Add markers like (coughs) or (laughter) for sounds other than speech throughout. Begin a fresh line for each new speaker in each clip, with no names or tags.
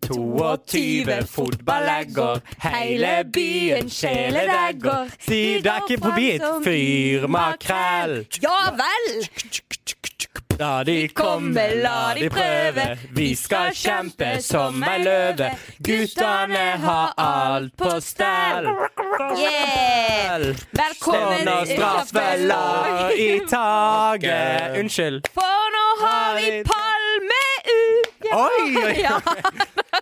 22 fotballegger, hele byen sjeledegger. Si det er ikke forbi et fyr makrell.
Ja vel!
La de komme, la de prøve. Vi skal kjempe som ei løve. Guttene har alt på stell.
Yeah!
Og
Velkommen
nå
til
straffelar i taket. (laughs) Unnskyld.
For nå har vi palmeuke!
Oi, oi, oi.
Ja,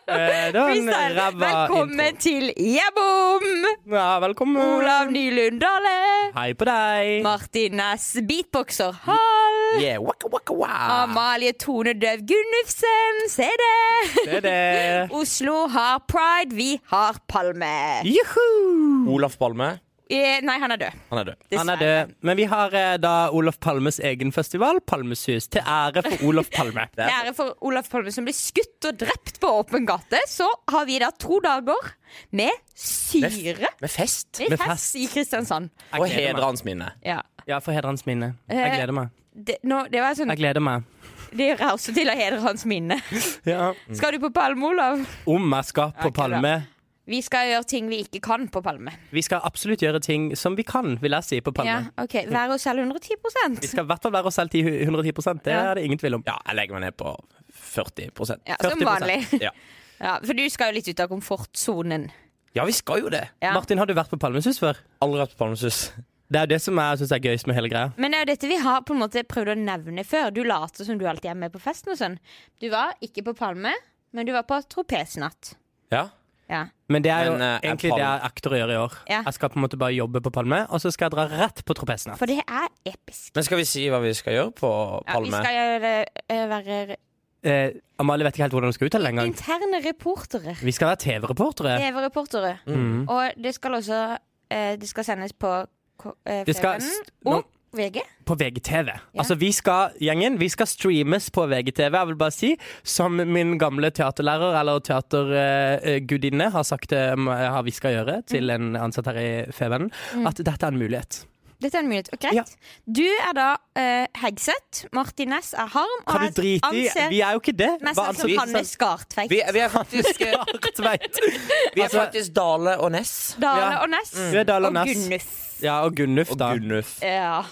Eh, Det var en
freestyle.
ræva
Velkommen
intro.
til Jebom!
Ja, velkommen.
Olav Nylund Dale.
Hei på deg.
Martin Næss, beatboxer. Hall.
Yeah, waka, waka,
Ah,
wa.
Amalie Tone Døv Gunnufsen. Se det!
Det er
Eh.
det.
Oslo har pride, vi har Palme.
Juhu!
Olaf Palme,
Eh, Nei, han er død.
han er død.
Han er
Dessverre.
død. Men vi har eh, da Olof Palmes egen festival, Palmesus, til ære for Olof
(laughs)
Palme.
Til ære for Olaf Palme, som ble skutt og drept på åpen gate, så har vi da to dager med
Med,
syre.
f- med fest.
Med
med
fest i Kristiansand.
Og
Jeg gleder
hedre
meg.
hans minne.
Ja.
Ja, for hedre hans minne. Jeg
Eh.
gleder meg.
Det, nå, det var sånn
Jeg gleder meg.
Det rauser til å hedre hans minne.
Ja.
Skal du på Palme, Olav?
Om jeg skal på
ikke bra.
Palme.
Vi skal gjøre ting vi ikke kan på Palme.
Vi skal absolutt gjøre ting som vi kan, vil jeg si, på
Ja,
Palme.
ok, Være oss selv 110
Vi skal i hvert fall være oss selv til 110 det
Ja.
er det ingen tvil om.
Ja, jeg legger meg ned på 40
Ja, Som
40%.
vanlig.
Ja.
Ja, for du skal jo litt ut av komfortsonen.
ja, vi skal jo det.
Ja.
Martin, har du vært på Palmesus før?
Aldri vært på Palmesus.
Det er jo det som jeg syns er gøyest med hele greia.
Men det er jo dette vi har på en måte prøvd å nevne før. Du later som du alltid er med på festen og sånn. Du var ikke på Palme, men du var på tropesnatt.
Ja.
Ja.
Men det er jo
Men, eh, en
egentlig det
palm-
jeg akter å gjøre i år.
Ja.
Jeg skal på en måte bare jobbe på Palme, og så skal jeg dra rett på tropesene.
For det er episk.
Men skal vi si hva vi skal gjøre på
Ja, vi
Palme?
skal gjøre, eh, være
Eh, Amalie vet ikke helt hvordan hun skal uttale det engang.
interne reportere.
Vi skal være TV-reportere.
TV-reportere.
Mm.
Og det skal også eh, Det skal sendes på K- eh,
Det skal
Fedrelandet
st- nå-
og VG.
På VGTV. Altså, vi skal, gjengen, vi skal streames på VGTV. Jeg vil bare si, som min gamle teaterlærer eller teatergudinne har sagt det m- har vi skal gjøre
Mm.
til en ansatt her i Fevennen, at dette er en mulighet.
Dette er en mulighet. Og greit.
Ja.
Du er da eh, Hegseth. Martin Næss er Harm. Og
Kan du
jeg
drite i?
anser
Vi er jo ikke det.
mest
Hva (laughs)
sannsynlig som Hanne Skartveit.
Vi, vi er faktisk,
anser Tveit?
(laughs)
(laughs)
vi er faktisk Dale og Ness.
Dale
Ja.
og Næss.
Vi er Dale og
og
Næss.
Gunnuf.
Ja, og Gunnuf,
Og
da.
Gunnuf.
Ja.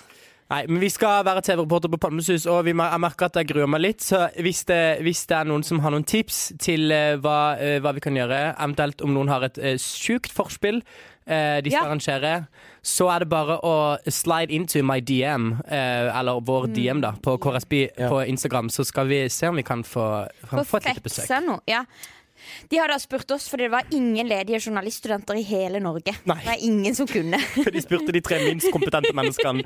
Nei, men Vi skal være TV-reporter på Palmesus, og vi, mer- jeg merker at jeg gruer meg litt. Så hvis det, hvis det er noen som har noen tips til eh, hva, eh, hva vi kan gjøre, eventuelt om noen har et eh, sjukt forspill eh, de skal
Ja.
arrangere, så er det bare å slide into my DM, eh, eller
Mm.
vår DM, da, på KRSB på Instagram, så skal vi se om vi kan få, kan få et lite besøk.
Perfekse nå. Ja. De har da spurt oss, fordi det var ingen ledige journaliststudenter i hele Norge.
Nei.
Det er ingen som kunne.
(laughs) De spurte de tre minst kompetente menneskene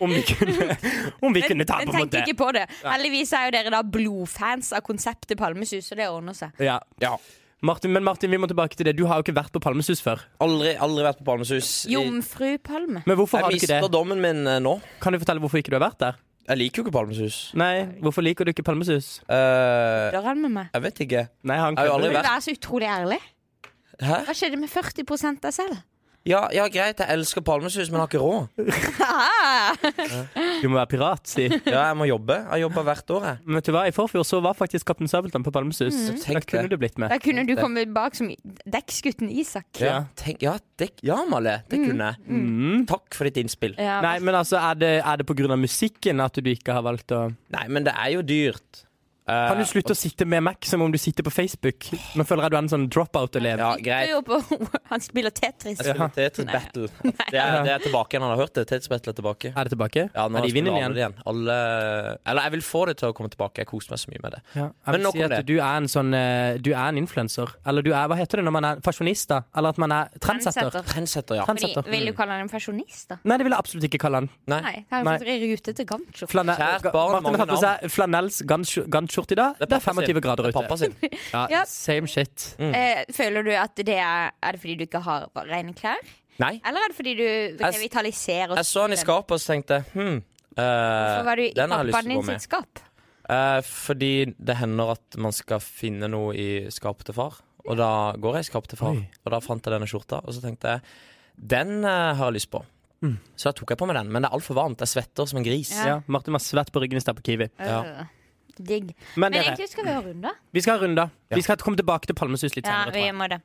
om vi kunne, om vi (laughs) kunne ta
Men
på en
tenkte
måte.
ikke på det. Heldigvis er jo dere da blodfans av konseptet Palmesus, og det ordner seg.
Ja.
Ja.
Martin, men Martin, vi må tilbake til det. Du har jo ikke vært på Palmesus før.
Aldri, aldri vært på Palmesus. Jeg
Jomfru Palme.
Men hvorfor har du ikke
mister
det?
dommen min eh, nå.
Kan du fortelle hvorfor ikke du har vært der?
Jeg liker jo ikke Palmesus.
Nei, Hvorfor liker du ikke Palmesus?
Eh,
Dør han med meg?
jeg vet ikke.
Nei, han
Jeg har jo
kødder.
aldri
Du
vært-
er så utrolig ærlig.
Hæ?
Hva skjedde med 40 deg selv?
Ja, ja, greit, jeg elsker Palmesus, men jeg har ikke råd.
Du må være pirat, si.
Ja, jeg må jobbe. Jeg jobber hvert år, jeg.
Men vet du hva, I forfjor så var faktisk Kaptein Sabeltann på Palmesus. Da
Mm. Tenk
kunne
det.
du blitt med.
Da kunne du komme bak som dekksgutten Isak.
Ja, tenk, ja, det, ja Amalie, det kunne jeg.
Mm.
Takk for ditt innspill.
Ja.
Nei, men altså, Er det, er det pga. musikken at du ikke har valgt å
Nei, men det er jo dyrt. Eh,
Kan du slutte å sitte med Mac som om du sitter på Facebook? Nå føler jeg du er en sånn dropout-elev.
Ja,
Du er
greit.
jo på- (laughs) Han spiller Tetris.
Eh, Jeg skulle til Tetris Battle. Det er, det er tilbake igjen. Han har hørt det. Tetris Battle er tilbake.
Er det tilbake?
Ja, nå
er de i
spiller
vinden
alle
igjen?
det igjen. Alle, eller jeg vil få det til å komme tilbake. Jeg koser meg så mye med det.
Ja, jeg
Men
vil
nok
si
om
at
det.
du er en sånn eh, Du er en influenser. Eller du er Hva heter det når man er fasjonist, da? Eller at man er trendsetter?
Trendsetter.
Trendsetter, ja.
Fordi,
Trendsetter.
vil du kalle han en fasjonist, da?
Nei, det vil jeg absolutt ikke kalle han.
Nei.
Nei, han
Nei.
er faktisk i rute til Gancho.
Flanell,
Kjært barn,
Martin har
mange
på seg flanells gans- gantskjorte i dag. Det er
pappa sin.
25 grader
Det er
ute. (laughs)
Pappa sin.
Ja,
Ja.
Same shit.
Mm.
Eh, føler du at det er Er det fordi du ikke har rene klær?
Nei.
Eller er det fordi du revitaliserer og
Jeg så han i skapet og så tenkte jeg, hm, eh,
Så var du i
den har jeg lyst
pappaen
til å
din
gå
sitt
med.
skap?
Eh, fordi det hender at man skal finne noe i skapet til far. Og da går jeg i skapet til far,
Oi.
og da fant jeg denne skjorta. Og så tenkte jeg den eh, har jeg lyst på.
Mm.
Så da tok jeg på meg den. Men det er altfor varmt. Jeg svetter som en gris.
Ja.
Ja, Martin var svett på ryggen i stad på Kiwi.
Ja.
Øh, Digg.
Men,
Men
dere,
egentlig skal vi ha
(laughs)
runder.
vi skal ha runder.
Ja.
Vi skal komme tilbake til Palmesus litt
Ja,
senere.
vi
tror jeg.
må det.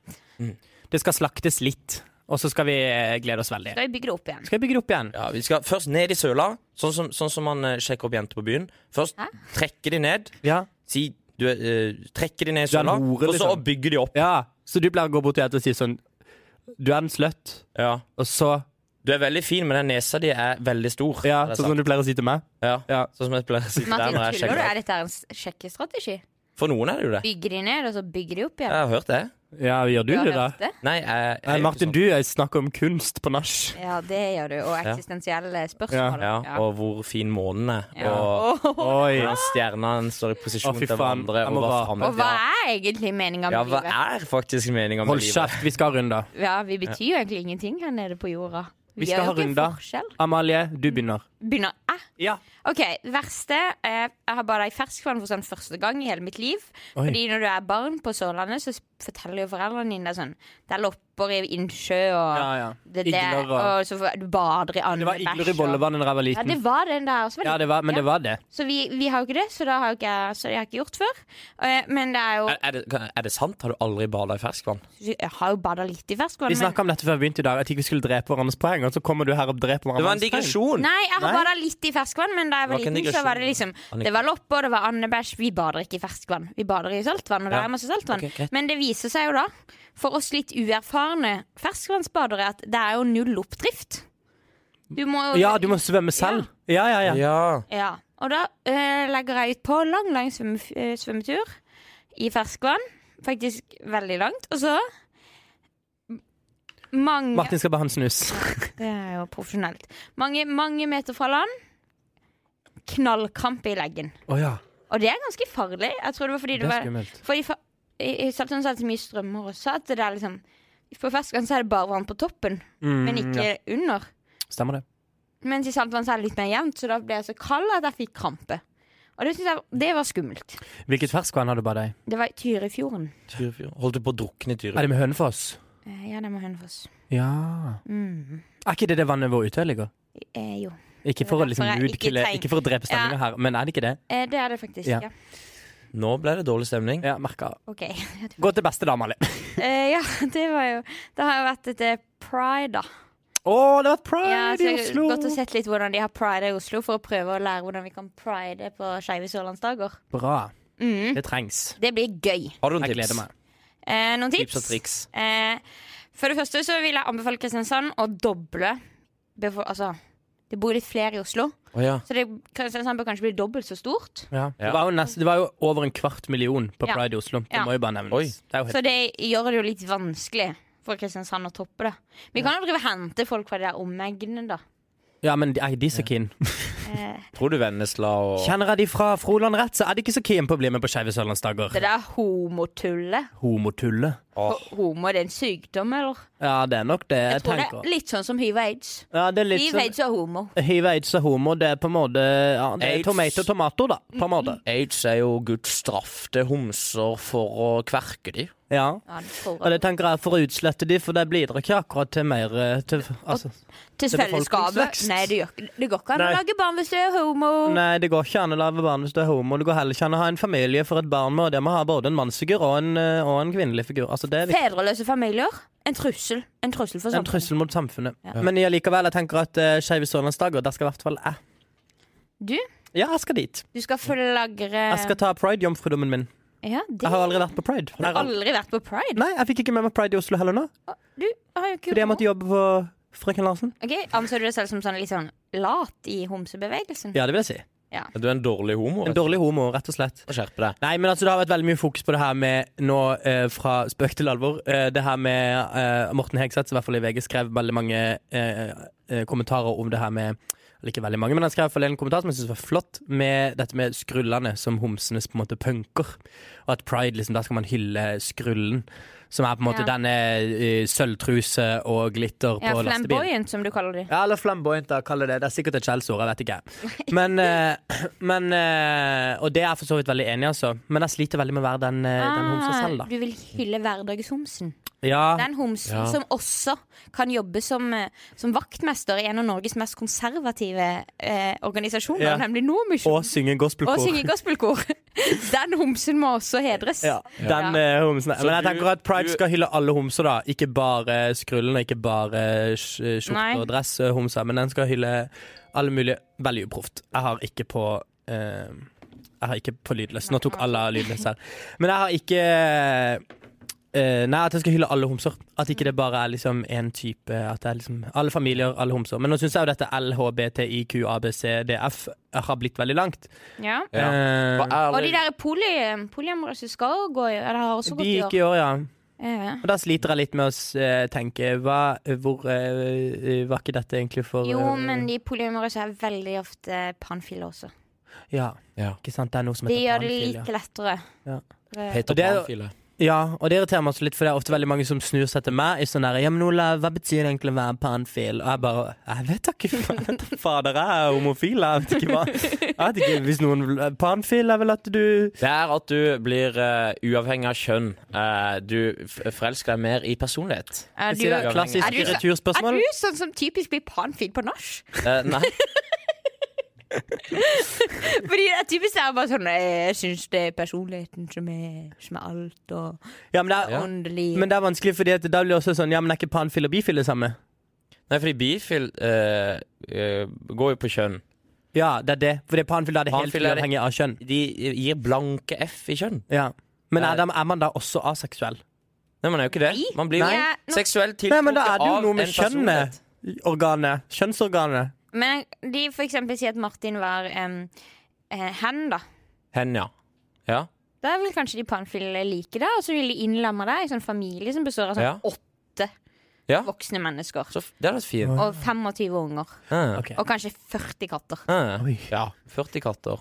Det skal slaktes litt, og så skal vi eh, glede oss veldig.
Skal vi bygge det opp igjen?
Skal jeg bygge det opp igjen?
Ja, vi skal først ned i søla, sånn som, sånn som man eh, sjekker opp jenter på byen. Først
Hæ?
trekker de ned.
Ja.
Si du er, eh, Trekker de ned i
Du er en
søla,
hore,
og så
liksom.
bygger de opp.
ja. Så du pleier å gå bort til henne og si sånn Du er en slutt,
Ja.
og så
Du er veldig fin, men den nesa di er veldig stor.
Ja,
Det er
sånn som
sant.
du pleier å si til meg.
ja.
Ja.
sånn som jeg pleier å si til deg
Martin,
når jeg
tuller du?
sjekker opp.
Er dette en s- sjekkestrategi?
For noen er det jo det.
Bygger de ned, og så bygger de opp
Jeg
igjen?
har hørt det.
Ja, gjør du
har
det, da?
hørt det?
Nei, eh, jeg, sånn- jeg,
Nei, Martin, du eh, snakker om kunst på nach.
(laughs) Ja, det gjør du. Og eksistensielle spørsmål.
ja, og hvor fin månen er,
Ja.
og
Og,
Oi.
hvordan stjernene står i
Å,
posisjon
fy
til
faen,
hverandre,
jeg
og
må
hva
bare-
fremtiden-
og hva er egentlig meninga
Ja,
med
hva
livet?
er faktisk meninga med
Hold
livet?
kjeft, vi skal ha runder.
Ja, Vi betyr jo egentlig ingenting her nede på jorda.
Vi skal
gjør
ha
jo ikke en
runder.
forskjell.
Amalie, du begynner.
Begynner jeg?
Ja.
OK, verste. eh, Jeg har bada i ferskvann for sånn første gang i hele mitt liv.
Oi.
Fordi når du er barn på Sørlandet, så s- forteller jo foreldrene dine deg sånn Det er lopper i innsjø, og
Ja, ja.
det, det,
Igler og-
og så får- du bader i
Det
andebæsj.
var igler i
og-
bollevann da jeg var
Ja,
liten.
det var den der. Også,
Ja, det var, men det var det.
Så vi, vi har jo ikke det, så, da har jo ikke, jeg- så det har jeg ikke gjort før. Eh, Men det er jo
Er, er, det, er det sant? Har du aldri bada i ferskvann?
Jeg har jo bada litt i ferskvann.
Eh. Vi
Men,
snakka om dette før vi begynte i dag, at ikke vi skulle drepe hverandres poeng. Og så kommer du her og dreper
Det var en
hverandres poeng.
digresjon!
nei, jeg har
Nei?
bada litt i ferskvann, men da jeg var
Det var ikke en
liten, så
digresjon.
var det liksom Det var lopper, det var andebæsj. Vi bader ikke i ferskvann. Vi bader i saltvann, og der
Ja.
er masse saltvann.
Ok, greit.
men det viser seg jo da, for oss litt uerfarne ferskvannsbadere, at det er jo null oppdrift. Du må jo
Ja, du må svømme selv. Ja, ja, ja.
Ja.
Ja, og da eh, legger jeg ut på lang, lang svømme, eh, svømmetur i ferskvann. Faktisk veldig langt. Og så m- mange
Martin skal bare ha en snus.
Det er jo profesjonelt. Mange, mange meter fra land. Knallkrampe i leggen.
Å ja.
Og det er ganske farlig. Jeg tror det var fordi
Det
det
er
var
skummelt.
fordi fa- i i Saltvann så er det så mye strømmer også. At det er liksom På ferskvann så er det bare vann på toppen,
Mm,
men ikke
ja.
under.
Stemmer det.
Mens i saltvann så er det litt mer jevnt, så da ble jeg så kald at jeg fikk krampe. Og det synes jeg det var skummelt.
Hvilket ferskvann har du bada i?
Det var i Tyrifjorden.
Tyrifjorden. Holdt du på å drukne i
Er
Tyrifjorden?
det med Hønefoss?
Eh, Ja, det må Hønefoss.
Ja.
Mm.
Er ikke det det vannet hvor Utøya ligger?
Eh, jo.
Ikke for, å liksom
Derfor jeg ikke
nudkille,
treng-
ikke for å drepe stemninga her, men er det ikke det?
Eh, det er det faktisk.
Ja.
Ja.
Nå ble det dårlig stemning.
Ja, merka.
OK. (laughs) eh,
Gå til beste, da, Amalie.
ja, (laughs) det var jo Det har jo vært et eh, pride, da.
Å, det var pride
Ja, så
i
jeg har
Oslo!
gått og sett litt hvordan de har pride i Oslo, for å prøve å lære hvordan vi kan pride på skeive sørlandsdager.
Bra.
Mm.
Det trengs.
Det blir gøy.
Har du en
Jeg
tips?
gleder meg.
Eh, noen tips?
Tips og triks.
Eh, for det første så vil jeg anbefale Kristiansand å doble befo- Altså, det bor litt flere i Oslo,
Å ja.
så det, Kristiansand bør kanskje bli dobbelt så stort.
Det, var jo nest, det var jo over en kvart million på
Ja.
Pride i Oslo. Det
Ja.
må jo bare nevnes.
Oi.
Det er jo
Så
helt...
det gjør det jo litt vanskelig for Kristiansand å toppe det. Vi kan jo drive og hente folk fra de der omegnene, da.
Ja, men de, nei, de er så keen.
Eh,
Tror du Vennesla og
Kjenner jeg de fra Froland rett, så er de ikke så keen på å bli med på Skeive sørlandsdager.
det der homotullet.
Homotulle.
Åh,
Ho- Homo, det er en sykdom, eller?
Ja, det er nok det jeg,
Jeg tror det
tenker.
er litt sånn som hiv og aids.
Ja, det er litt
Hiv,
sånn
aids og homo.
Hiv, aids og homo, det er på en måte ja, det er
Aids.
Tomato, tomato, da. På en måte.
Aids er jo Guds straff til homser for å kverke de.
Mm-hmm.
Ja.
Ja, det tror
Og
jeg.
det tenker jeg for å utslette de, for det blir ikke akkurat til mer eh, til, altså, det
Til
er
fellesskapet.
befolkningsvekst.
Nei, det, gjør, ikke- det går ikke an å
Nei.
lage barn hvis du er homo.
Nei, det går ikke an å lage barn hvis du er homo. Det går heller ikke an å ha en familie for et barn med, og det må ha både en mannsfigur og en, eh, og en kvinnelig figur. Altså, det er viktig.
Fedreløse familier. En trussel. En trussel for
En
samfunnet.
trussel mot samfunnet.
Ja.
Men jeg likevel, jeg tenker at uh, Skeive sørlandsdager, der skal i hvert fall jeg.
Du,
Ja, jeg skal dit.
du skal flagre
Jeg skal ta pride-jomfrudommen min.
Ja, det
Jeg har aldri vært på pride.
Du Eh. har
Nei,
aldri vært på pride.
Nei, jeg fikk ikke med meg pride i Oslo heller nå,
Du har jo ikke
fordi jeg måtte jobbe på Frøken Larsen.
Ok, Anser du deg selv som sånn litt sånn lat i homsebevegelsen?
Ja, det vil jeg si.
Du er en dårlig homo.
En dårlig homo, rett og slett.
Skjerpe deg.
Nei, men altså Det har vært veldig mye fokus på det her med nå eh, fra spøk til alvor. Eh, det her med eh, Morten Hegseth, som i hvert fall i VG skrev veldig mange eh, eh, kommentarer om det her med eller ikke veldig mange, men Han skrev i hvert fall en kommentar som jeg synes var flott, med dette med skrullene som homsenes på en måte punker. Og at pride, liksom, der skal man hylle skrullen. Som er på en måte
Ja.
denne eh, sølvtruse og glitter
Ja,
på lastebilen.
flamboyant, som du kaller de.
Ja, eller flamboyant, da, kall det det. Det er sikkert et skjellsord, jeg vet ikke. Men,
(laughs)
eh, men eh, Og det er jeg
Ah.
for så vidt veldig enig i, altså. Men jeg sliter veldig med å være den, eh, den homsa selv, da. Ah,
du vil hylle hverdagshomsen. Det
Ja,
er en homsen
Ja.
som også kan jobbe som, eh, som vaktmester i en av Norges mest konservative eh, organisasjoner,
Ja.
nemlig Nordmisjon.
og synge
Og
gospelkor. (laughs)
synge gospelkor. Den homsen må også hedres.
Ja, den eh, homsen.
Så
Men jeg
du-
tenker at Pride
du-
skal hylle alle homser, da. Ikke bare skrullen og ikke bare eh, sk-
Nei.
skjorte- og dress-homser, men den skal hylle alle mulige Veldig uproft. Jeg har ikke på eh, Jeg har ikke på lydløs. Nå tok alle av lydløs her. Men jeg har ikke eh, nei, at jeg skal hylle alle homser. At ikke det bare er liksom én type. At det er liksom Alle familier, alle homser. Men nå syns jeg jo dette LHBTIQABCDF har blitt veldig langt.
Ja.
Ja.
Eh,
Hva er
Og de
det-
der poly, polyamorøse skal jo gå i Eller har også gått
de
i år.
gikk i år, ja.
Ja.
Og da sliter jeg litt med å s- eh, tenke hva, hvor eh, Var ikke dette egentlig for
Jo,
eh,
men de polyamorøse er veldig ofte panfile også.
Ja,
Ja.
ikke sant. Det er noe som
De
heter
gjør det
panfil, ja.
litt lettere. Eh,
Ja.
Det-
Peter
Og det er jo-
Panfile.
ja, og det irriterer meg også litt, for det er ofte veldig mange som snur seg til meg i sånn der Ja, men Ola, hva betyr det egentlig å være panfil? Og jeg bare Jeg vet da ikke, faen, jeg vet da fader. Jeg er homofil, jeg vet ikke hva Jeg vet ikke, hvis noen Panfil er vel at du
Det er at du blir eh, uavhengig av kjønn. Eh, du f- forelsker deg mer i personlighet.
Er du,
Sier det er
er
klassisk
Er du så-
returspørsmål.
du sånn som typisk blir panfil på nach?
Eh, (laughs) nei.
(laughs) Fordi det er typisk det er bare sånn Jeg syns det er personligheten som er, som er alt, og
Ja, men det er,
åndelig
men det er vanskelig, fordi at da blir det også sånn Ja, men er ikke panfil og bifil det samme?
nei, fordi bifil eh, eh, går jo på kjønn.
Ja, det er det. Fordi panfil da er det helt
Panfil er det-
uavhengig av kjønn.
De gir blanke F i kjønn.
Ja. Men er,
Eh,
da- er man da også aseksuell?
Nei, man er jo ikke det.
Nei.
Man blir
Nei.
jo seksuelt
Nei, men
tiltrukket
da er det jo
av
noe med
en personlighet.
kjønnet. Organet. Kjønnsorganet.
Men de for eksempel sier at Martin var em, eh, hen, da.
Hen, ja. ja.
Da vil kanskje de panfile like det, og så vil de innlemme deg i en sånn familie som består av sånn
Ja.
åtte
Ja.
voksne mennesker.
Så f- det hadde vært fint.
Og 25 unger.
Eh,
Ok.
Og kanskje 40 katter.
eh,
Oi.
Ja. 40 katter.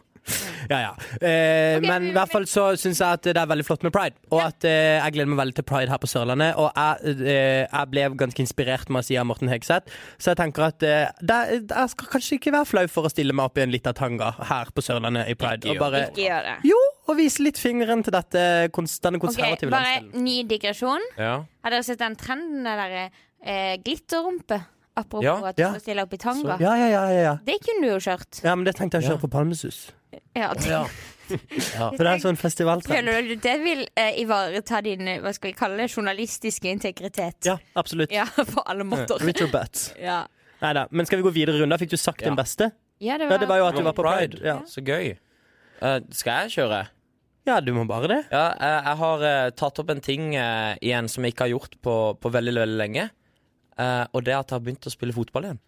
Ja, ja. Eh,
Ok,
men i
men-
hvert fall så syns jeg at det er veldig flott med pride. Og at eh, jeg gleder meg veldig til pride her på Sørlandet. Og jeg, eh, jeg ble ganske inspirert med å si av Morten Hegseth, så jeg tenker at eh, det, jeg skal kanskje ikke være flau for å stille meg opp i en lita tanga her på Sørlandet i pride.
Ikke
Og
gjør
bare
Ikke gjør det.
Jo, og vise litt fingeren til dette, kons- denne
Ok,
konservative
Bare
landsdelen.
ny digresjon.
Ja.
Har dere sett den trenden det derre eh, glitterrumpe? Apropos
Ja,
at du
ja.
skal stille opp i tanga.
Ja, ja, ja, ja, ja.
Det kunne du jo kjørt.
ja, men det tenkte jeg å
Ja.
kjøre på Palmesus.
Ja, det,
Ja.
For det er sånn festivaltrend.
Føler du det vil eh, ivareta din eh, hva skal vi kalle det, journalistiske integritet?
Ja, absolutt.
Ja, på alle måter.
Richard Butt.
Ja.
Neida, Men skal vi gå videre i runden? Da Fikk du sagt
Ja.
den beste?
Ja,
Ja, det var jo at du
Det
var på Pride. Ja,
Så gøy. Eh, skal jeg kjøre?
ja du må bare det.
Ja, jeg, jeg har eh, tatt opp en ting eh, igjen som jeg ikke har gjort på, på veldig, veldig lenge. Eh, og det er at jeg har begynt å spille fotball igjen.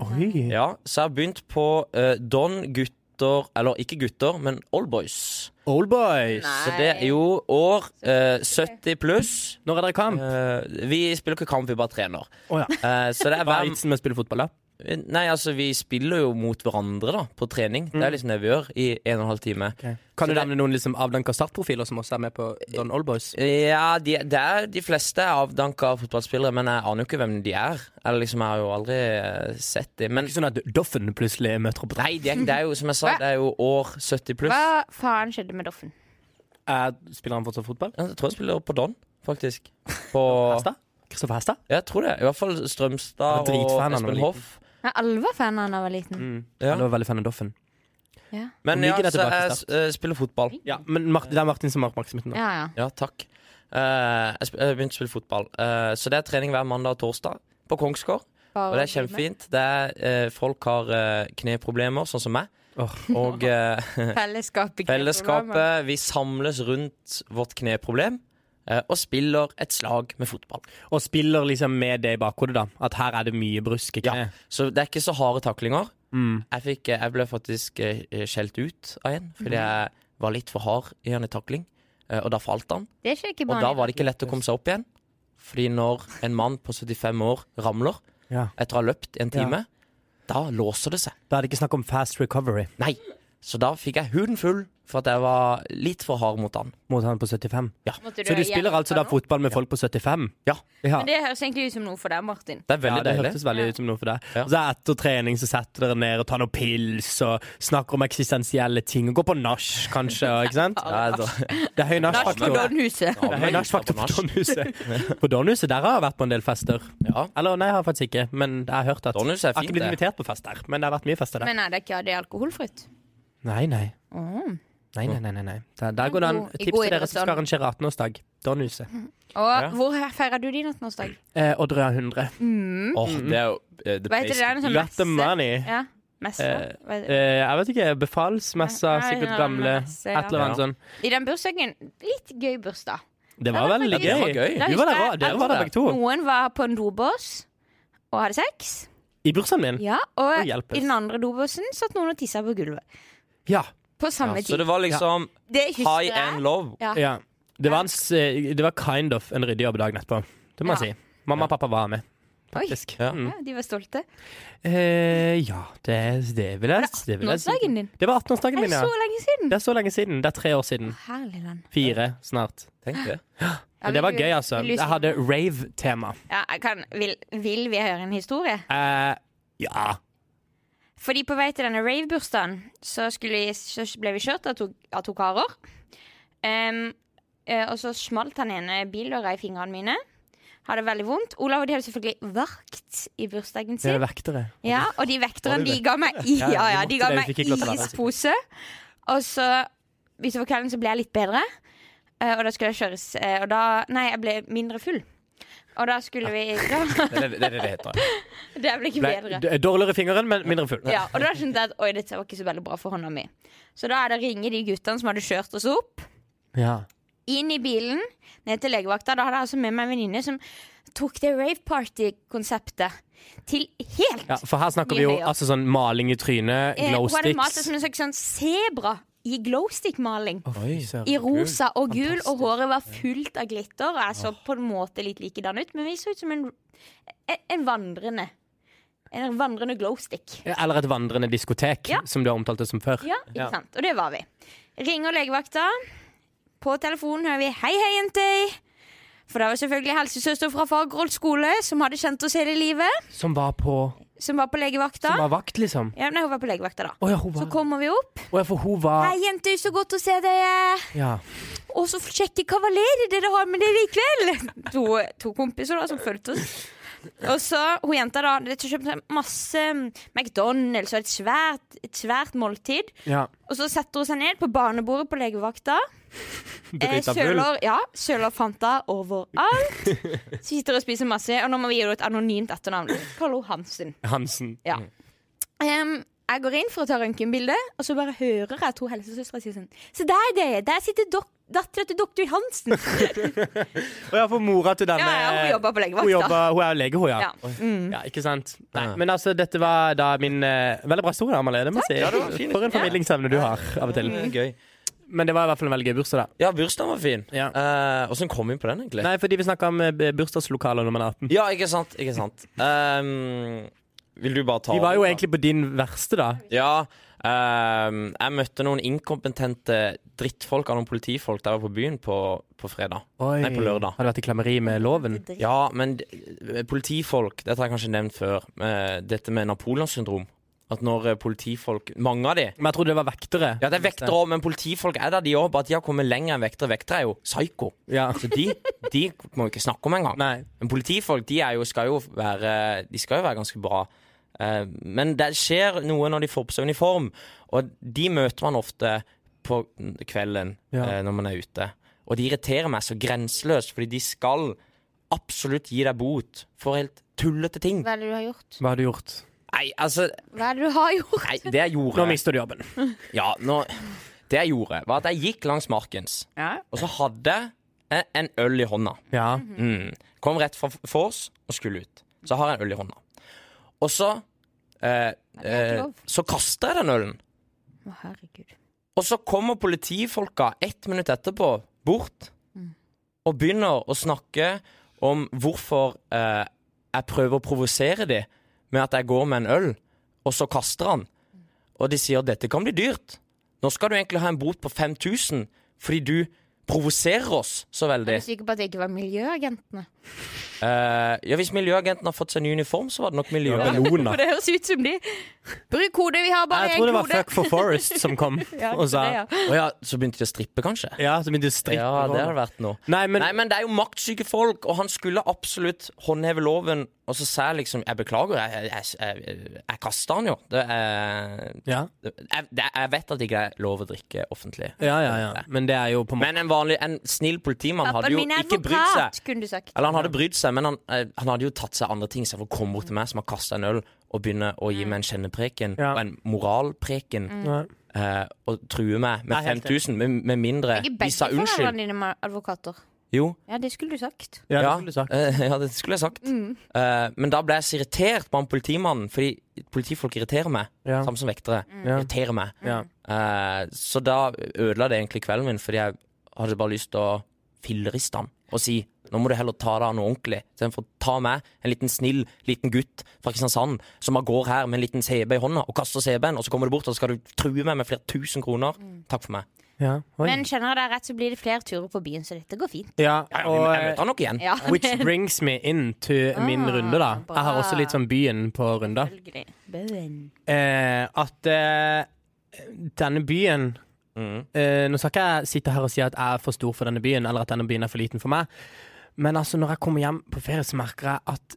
Oi.
Ja, Så jeg har begynt på eh, Don gutter, eller ikke gutter, men Oldboys.
Old boys.
Nei.
Så det er jo år eh, 70 pluss.
Når er dere kamp?
Eh, vi spiller ikke kamp, vi bare trener.
Å ja.
Eh, så det er
Hva er
hver
vitsen med å spille fotball, da?
Nei, altså, vi spiller jo mot hverandre, da, på trening. Det er liksom det vi gjør i en og en halv time.
Kan
Så
du
det-
nevne noen liksom, avdanka startprofiler som også er med på Don Old Boys?
Ja, de, det er, de fleste er avdanka fotballspillere, men jeg aner jo ikke hvem de er. Eller liksom, Jeg har jo aldri eh, sett dem. Men
Ikke sånn at Doffen plutselig møter opp?
nei, det er, det er jo som jeg sa, det er jo år 70 pluss.
Hva faen skjedde med Doffen?
Eh, spiller han fortsatt fotball?
Jeg tror jeg spiller på Don, faktisk. På
Hestad? Kristoffer Hestad?
Jeg tror det. I hvert fall Strømstad
Jeg var dritfan
og
da han var
Espen Hoff.
Ja, Alle var fan av han da han var liten.
Ja.
Han var veldig fan av Doffen.
Ja.
Men
Hvor
ja,
ligger det
så
tilbake
jeg eh, spiller fotball.
Ja, men Mar- det er Martin som har oppmerksomheten nå.
Ja, ja.
Ja, takk. Eh, jeg sp- jeg begynte å spille fotball. Eh, så det er trening hver mandag og torsdag på Kongsgård. Og det er kjempefint. Det er, eh, folk har eh, kneproblemer, sånn som meg.
Åh.
Og eh,
Fellesskapet.
Fellesskapet, vi samles rundt vårt kneproblem eh, og spiller et slag med fotball.
Og spiller liksom med det i bakhodet, da. At her er det mye brusk i kne.
Ja. Så det er ikke så harde taklinger.
Mm.
Jeg, fikk, eh, jeg ble faktisk eh, skjelt ut av en fordi
Mhm.
jeg var litt for hard i en takling, eh, og da falt han.
Det skjer ikke
Og da var
bare.
det ikke lett å komme seg opp igjen. Fordi når en mann på 75 år ramler
Ja.
etter å ha løpt en time, da låser det seg.
Da er det ikke snakk om fast recovery.
Nei. Så da fikk jeg huden full For at jeg var litt for hard mot han.
mot han på 75.
Måtte
Så du
ha
spiller
hjelp
altså
av
da
noe?
fotball med folk på 75?
Ja.
ja.
Men det høres egentlig ut som noe for deg, Martin.
Det er
Ja,
veldig
det
deilig.
hørtes veldig ut som noe for deg.
Ja.
Og så Etter trening så setter dere ned og tar noen pils og snakker om eksistensielle ting. Og Går på nach, kanskje.
(laughs)
og- Ikke sant?
Ja, altså. jeg drar-
Det er høy
Nach på
nachfaktor.
Donhuset.
Det er høy nachfaktor på
(laughs)
Donhuset. På Donhuset der har jeg vært på en del fester.
Ja.
Eller nei, jeg har faktisk ikke. Men jeg har hørt at Jeg
Donhuset er
har ikke
fint,
blitt
det.
invitert på fest der, men det har vært mye fester der.
Men nei, det er ikke det er alkoholfritt.
Nei, nei.
Mm.
Nei, nei, nei, nei, nei. Der, der går det an.
God- i Mm.
Tips
god
til dere
idrett,
som skal arrangere 18-årsdag. Donhuset.
Og
Ja.
hvor feirer du din 18-årsdag?
Eh, Odderøya 100.
Mm.
Åh, det er jo eh, the
Hva heter det?
place
Er det
to
sånn
Got the
messe?
money.
Ja, messe.
Eh,
Hva heter det?
Eh, jeg vet ikke. Befalsmessa,
Nei,
sikkert
nei,
gamle
messe,
Et
ja.
eller annet
Ja.
sånn.
I den bursdagen Litt gøy bursdag.
Det var
Ja,
veldig
det
gøy.
var gøy.
Du var der også. Dere var der begge to.
Noen var på en dobås og hadde sex.
I bursdagen min?
Ja, og
Å, hjelpes.
i den andre dobåsen satt noen og tissa på gulvet.
Ja.
På
be-
samme
ja, Så
tid.
det var liksom
Det husker
high and
jeg.
low.
Ja.
ja. Det, var en, s- eh, det var kind of en ryddig jobb dagen etterpå. Det må
Ja.
jeg si. Mamma og pappa var med,
Oi,
faktisk.
Ja.
Mm.
ja, de var stolte.
Eh, ja, det, det vil jeg det vil jeg si.
18-årsdagen din?
Det var
Det
18-årsdagen
er
min, ja.
så lenge siden!
Det er så lenge siden. Det er tre år siden.
Herlig land.
Fire snart.
Tenk det.
Ja,
Men det var
vil du-
gøy, altså.
vil du si-
Jeg hadde rave-tema.
ja, jeg kan, vil, vil vi høre en historie?
Eh, ja.
Fordi på vei til denne rave-bursdagen så, skulle vi- så ble vi kjørt av to, av to karer. Em, eh, og så smalt han ene bildøra i fingrene mine. Hadde veldig vondt. Olav og de hadde selvfølgelig vakt i bursdagen
Det
sin.
er vektere.
Ja, og de
Var
vekterne,
det
de ga meg, i,
(laughs) Ja,
ja, ja,
du
de
måtte
ga
det,
meg
du fikk ikke lov til å være der, sikkert.
ispose. Og så utover kvelden så ble jeg litt bedre, eh, og da skulle jeg kjøres eh, Og da Nei, jeg ble mindre full. Og da skulle vi (laughs) da,
Det er det det, er det det heter.
Det ble ikke
Ble
bedre.
d- dårligere i fingeren, men mindre full.
Ja, og da skjønte jeg at oi, dette var ikke så veldig bra for hånda mi. Så da er det å ringe de guttene som hadde kjørt oss opp.
Ja.
inn i bilen, ned til legevakta. Da hadde jeg altså med meg en venninne som tok det rave party-konseptet til helt
ja. For her snakker vi jo altså sånn maling i trynet,
Eh,
glow
Hun hadde malt det
sticks
som en slags sånn sebra i glowstick-maling.
Å, fy søren.
I rosa og gul, og håret var fullt av glitter. Og jeg så på en måte litt likedan ut, men vi så ut som en, en, en vandrende En vandrende glowstick.
Ja, Eller et vandrende diskotek,
Ja.
som du har omtalt det som før.
Ja, ikke
Ja.
sant? Og det var vi. Ringer legevakta. På telefonen hører vi 'hei, hei, jenter'. For det var selvfølgelig helsesøster fra Fagerholt skole som hadde kjent oss hele livet.
Som var på
Som var på legevakta.
Som var vakt, liksom.
Ja, nei, hun var på legevakta, da.
Å ja, hun
Så
var
kommer vi opp.
Å ja, for hun var
'Hei, jenter, så godt å se dere'.
Ja.
Og så sjekke kavalerer dere har med dere i kveld. To, to kompiser da, som fulgte oss. Og så hun jenta da, det kjøpte seg masse McDonald's og et svært, et svært måltid.
ja.
Og så setter hun seg ned på barnebordet på legevakta. Eh,
Drita full.
Søler, ja, søler Fanta overalt. Sitter og spiser masse. Og nå må vi gi henne et anonymt etternavn. Kaller hun Hansen.
Hansen.
Ja. Em, jeg går inn for å ta røntgenbilde, og så bare hører jeg to helsesøstre si sånn Se der, dere! Der sitter dok dattera til doktor Hansen.
Å ja, for mora til denne
Ja, ja, hun jobber på legevakta.
Hun, jobber, hun er lege, hun, ja.
Ja.
ja. Ikke sant. Nei, men altså, dette var da min eh, Veldig bra historie, Amalie. Det må jeg si.
Ja, det var fint.
For en formidlingsevne du har av og til.
Mm.
Det er Gøy.
Men det var i hvert fall en veldig gøy bursdag, da.
Ja, bursdagen var fin.
Ja.
Eh, Åssen kom vi på den, egentlig?
Nei, fordi vi snakka om eh, bursdagslokaler når man er 18.
Ja, ikke sant? Ikke sant. Ehm, vil du bare ta
Vi var jo
over, da?
egentlig på din verste, da.
Ja. ehm, jeg møtte noen inkompetente drittfolk av noen politifolk der jeg var på byen på, på fredag. Nei, på lørdag.
Har du vært i klammeri med loven?
Ja, men d- eh, politifolk Dette har jeg kanskje nevnt før. eh, dette med Napoleonssyndrom. At når eh, politifolk Mange av de
Men jeg trodde det var vektere.
Ja, det er vektere òg, men politifolk er der, de òg. Bare at de har kommet lenger enn vektere. Vektere er jo psyko.
(laughs) Ja.
Så de, de må vi ikke snakke om engang.
Nei.
Men politifolk de er jo, skal, jo være, de skal jo være ganske bra. Eh, Men det skjer noe når de får på seg uniform, og de møter man ofte på kvelden
Ja.
eh, når man er ute. Og de irriterer meg så grenseløst, fordi de skal absolutt gi deg bot for helt tullete ting.
Hva er det du har gjort?
Hva har du gjort?
Nei, altså
Hva er det du har gjort?
nei, Det jeg
Nå
gjorde
mister du jobben.
Ja, nå Det jeg gjorde, var at jeg gikk langs Markens, og så hadde jeg en øl i hånda.
Ja.
Mm. Kom rett fra vors og skulle ut. Så har jeg en øl i hånda. Og så eh,
ikke
eh,
lov.
Så kaster jeg den ølen.
Å, herregud.
Og så kommer politifolka ett minutt etterpå bort og begynner å snakke om hvorfor eh, jeg prøver å provosere dem med at jeg går med en øl, og så kaster han. Og de sier 'dette kan bli dyrt'. Nå skal du egentlig ha en bot på 5000 fordi du provoserer oss så
Er
veldig.
du sikker på at det ikke var miljøagentene?
Eh, ja, Hvis miljøagenten har fått seg ny uniform, så var det nok miljøagenten.
Bellona.
(laughs) For det høres ut som de Bruk kode, vi har bare
Jeg
én
tror det var
kode.
Fuck for Forest som
(laughs)
kom
Ja,
og sa
det, ja.
Å ja, så begynte de å strippe, kanskje?
Ja, som industri.
Ja, det har det vært nå.
Nei, men,
Nei, men det er jo maktsyke folk, og han skulle absolutt håndheve loven. Og så sa jeg liksom Jeg beklager, jeg, jeg, jeg, jeg kaster han jo. Det er,
ja.
jeg, det, jeg vet at det ikke er lov å drikke offentlig.
Ja, ja, ja. Men det er jo på en måte
Men en vanlig, en snill politimann hadde
Pappaen
jo
min er
ikke brydd seg.
advokat, kunne du sagt.
Eller han hadde brydd seg, men han, eh, han hadde jo tatt seg andre ting. Så for å komme bort til meg som har kasta en øl, og begynne å
Mm.
gi meg en kjennepreken
Ja.
og en moralpreken,
Nei.
eh, og true meg med
Nei, helt
5000, med, med mindre
Ikke
de sa
begge
unnskyld.
foreldrene dine er advokater.
Jo,
Ja, det skulle du sagt.
Ja, det skulle du sagt.
eh, ja, det skulle jeg sagt.
Mm.
Eh, men da ble jeg så irritert på han politimannen, fordi politifolk irriterer meg.
Ja.
Samme som vektere.
Mm.
Ja.
Irriterer meg.
Ja.
Eh, så da ødela det egentlig kvelden min, fordi jeg hadde bare lyst til å filleriste han og si nå må du heller ta deg av noe ordentlig. Istedenfor å ta meg, en liten snill liten gutt fra Kristiansand, som bare går her med en liten CB i hånda og kaster CB-en, og så kommer du bort og så skal du true meg med flere tusen kroner.
Mm.
Takk for meg.
Ja. Oi.
Men kjenner jeg deg rett, så blir det flere turer på byen, så dette går fint.
ja,
Ja,
og
jeg møter han nok igjen.
(laughs) Ja,
eh, Which brings me in to min
Ah,
runde, da. Jeg har også litt sånn byen på runda.
selvfølgelig. Bøen.
Eh, at eh, denne byen
Mm.
eh, Nå skal ikke jeg sitte her og si at jeg er for stor for denne byen, eller at denne byen er for liten for meg, men altså, når jeg kommer hjem på ferie, så merker jeg at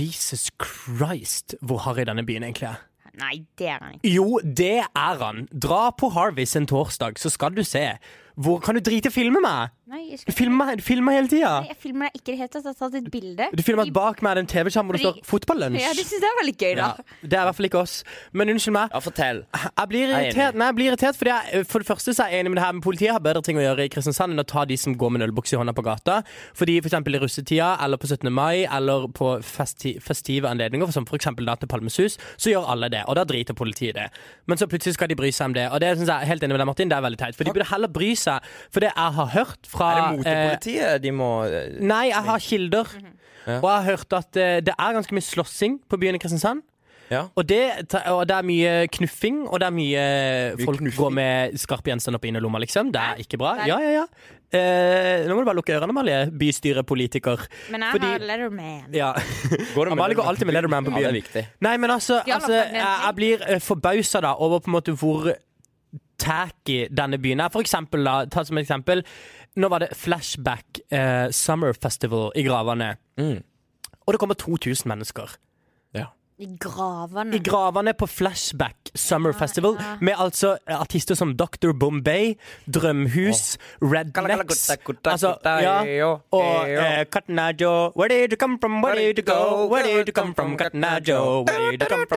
Jesus Christ, hvor harry denne byen egentlig er.
Nei, det er han ikke.
Jo, det er han. Dra på Harvis en torsdag, så skal du se. Hvor kan du drite i å filme meg?
Nei, jeg,
Du
skal...
filmer, du filmer hele tida.
Nei, jeg filmer deg ikke i det hele tatt. Jeg har tatt et bilde.
Du filmer at bak meg er det en TV-skjerm hvor det står
Fordi-
'Fotballunsj'.
Ja, det syns jeg er veldig gøy, da.
Ja, det er i hvert fall ikke oss. Men unnskyld meg.
Ja, fortell.
Jeg blir
Jeg er
irritert,
enig.
nei, jeg blir irritert fordi jeg, eh, For det første så er jeg enig med det her med politiet har bedre ting å gjøre i Kristiansand enn å ta de som går med en ølbukse i hånda på gata. Fordi for eksempel i russetida eller på 17. mai eller på festi festive anledninger, som for eksempel da til Palmesus, så gjør alle det. Og da driter politiet i det. Men så plutselig skal de bry seg om det. Og det synes jeg er helt enig med deg, Martin, det er veldig teit. For de burde heller bry seg for det jeg har hørt fra
Er det
eh,
motepolitiet de må Ah, eh,
Nei, jeg har kilder.
Mhm.
Og jeg har hørt at eh, det er ganske mye slåssing på byen i Kristiansand.
Ja.
Og det, ta- og det er mye knuffing, og det er mye,
Mye
folk
knuffing.
går med skarpe gjenstander på innerlomma, liksom. Det er ikke bra.
Nei.
Ja, ja, ja. Eh, nå må du bare lukke ørene, Amalie, bystyrepolitiker.
Men jeg
Fordi-
har Letterman.
Ja.
Går det med
Amalie går alltid med Leatherman på
Ja, det er
byen.
viktig.
Nei, men altså,
De har lagt
altså
ned
jeg,
en
jeg
ting.
blir uh, forbausa da over på en måte hvor tacky denne byen er. For eksempel, da, ta som et eksempel. Nå var det Flashback eh, Summer Festival i Gravane.
Mm.
Og det kommer 2000 mennesker.
I gravene.
I gravene på Flashback Summer Festival, med altså eh, artister som Dr. Bombay, Drømhus, Rednecks altså, ja, Og eh, Cotton Eye Joe. Where did you come from, where did you go? Where did you come from, Cotton Eye Joe? Where did you come from?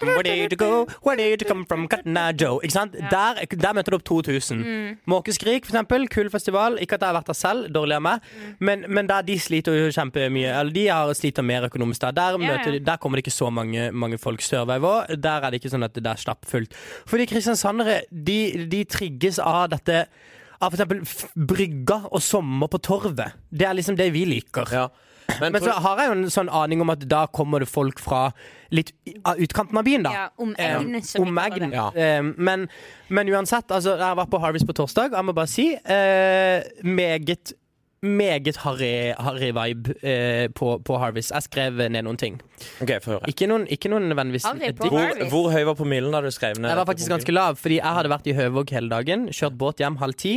Where did you go? Where did you come from? Cotton Eye Joe. Ikke sant? Der, der møter du opp 2000.
Mm.
Måkeskrik, for eksempel. Kul festival. Ikke at jeg har vært der selv, dårlig av meg.
Mm.
Men, men der de sliter jo kjempemye. Eller de har sliter mer økonomisk der. Der,
Ja, ja.
møter de, der kommer det ikke så mange, mange folk. Sørveiv òg. Der er det ikke sånn at det er stappfullt. Fordi kristiansandere, de, de trigges av dette av for eksempel f- brygga og sommer på torvet. Det er liksom det vi liker.
Ja. Men,
Men
tror-
så har jeg jo en sånn aning om at da kommer det folk fra litt i- av utkanten av byen, da.
Ja, om
Eh,
egnet, som vi
om
kaller
egnet.
det.
Ja.
Eh, men, men uansett, altså, jeg var på Harvest på torsdag, jeg må bare si eh, meget meget harry, harry vibe eh, på, på Harvest. Jeg skrev ned noen ting.
OK, få høre.
Ikke noen, ikke noen nødvendigvis
Harry på
dikt.
Harvest?
Hvor, hvor høy var promillen da du skrev ned?
Jeg var faktisk ganske lav, fordi jeg hadde vært i Høvåg hele dagen. Kjørt båt hjem halv ti.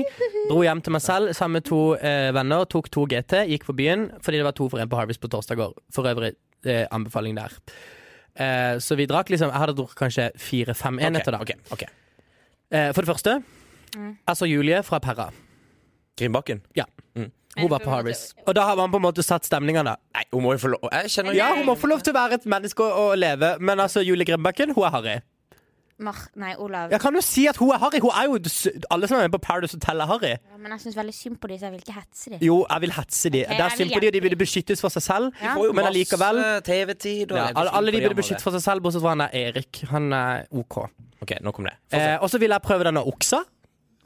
Dro hjem til meg selv sammen med to eh, venner. Tok to GT, gikk på byen fordi det var to for en på Harvest på torsdager. For øvrig eh, anbefaling der. Eh, så vi drakk liksom Jeg hadde drukket kanskje fire-fem enheter, da.
Ok, ok.
Eh, for det første,
Mm.
altså Julie fra Perra.
Grimbakken?
Ja. Hun var på Harvest. Og da har man på en måte satt stemninga, da.
Nei, hun må jo få lov Jeg kjenner
Ja, hun må få lov til å være et menneske og, og leve, men altså Julie Grimbakken, hun er harry.
Mar... Nei, Olav.
Jeg kan jo si at hun er Harry. Hun er jo s- Alle som er med på Paradise Hotel, er Harry.
Ja, Men jeg syns veldig synd på de, så jeg vil ikke hetse de.
Jo, jeg vil hetse de.
Ok,
Det er
jeg vil
synd på de, og de
hjelpe
burde beskyttes for seg selv.
Ja.
Men allikevel
Masse TV-tid og
ja,
Jeg
alle, alle de
blir
burde beskyttes for seg selv, bortsett fra han der Erik. Han er OK.
OK, nok om det. Få se.
Eh, og så vil jeg prøve denne oksa,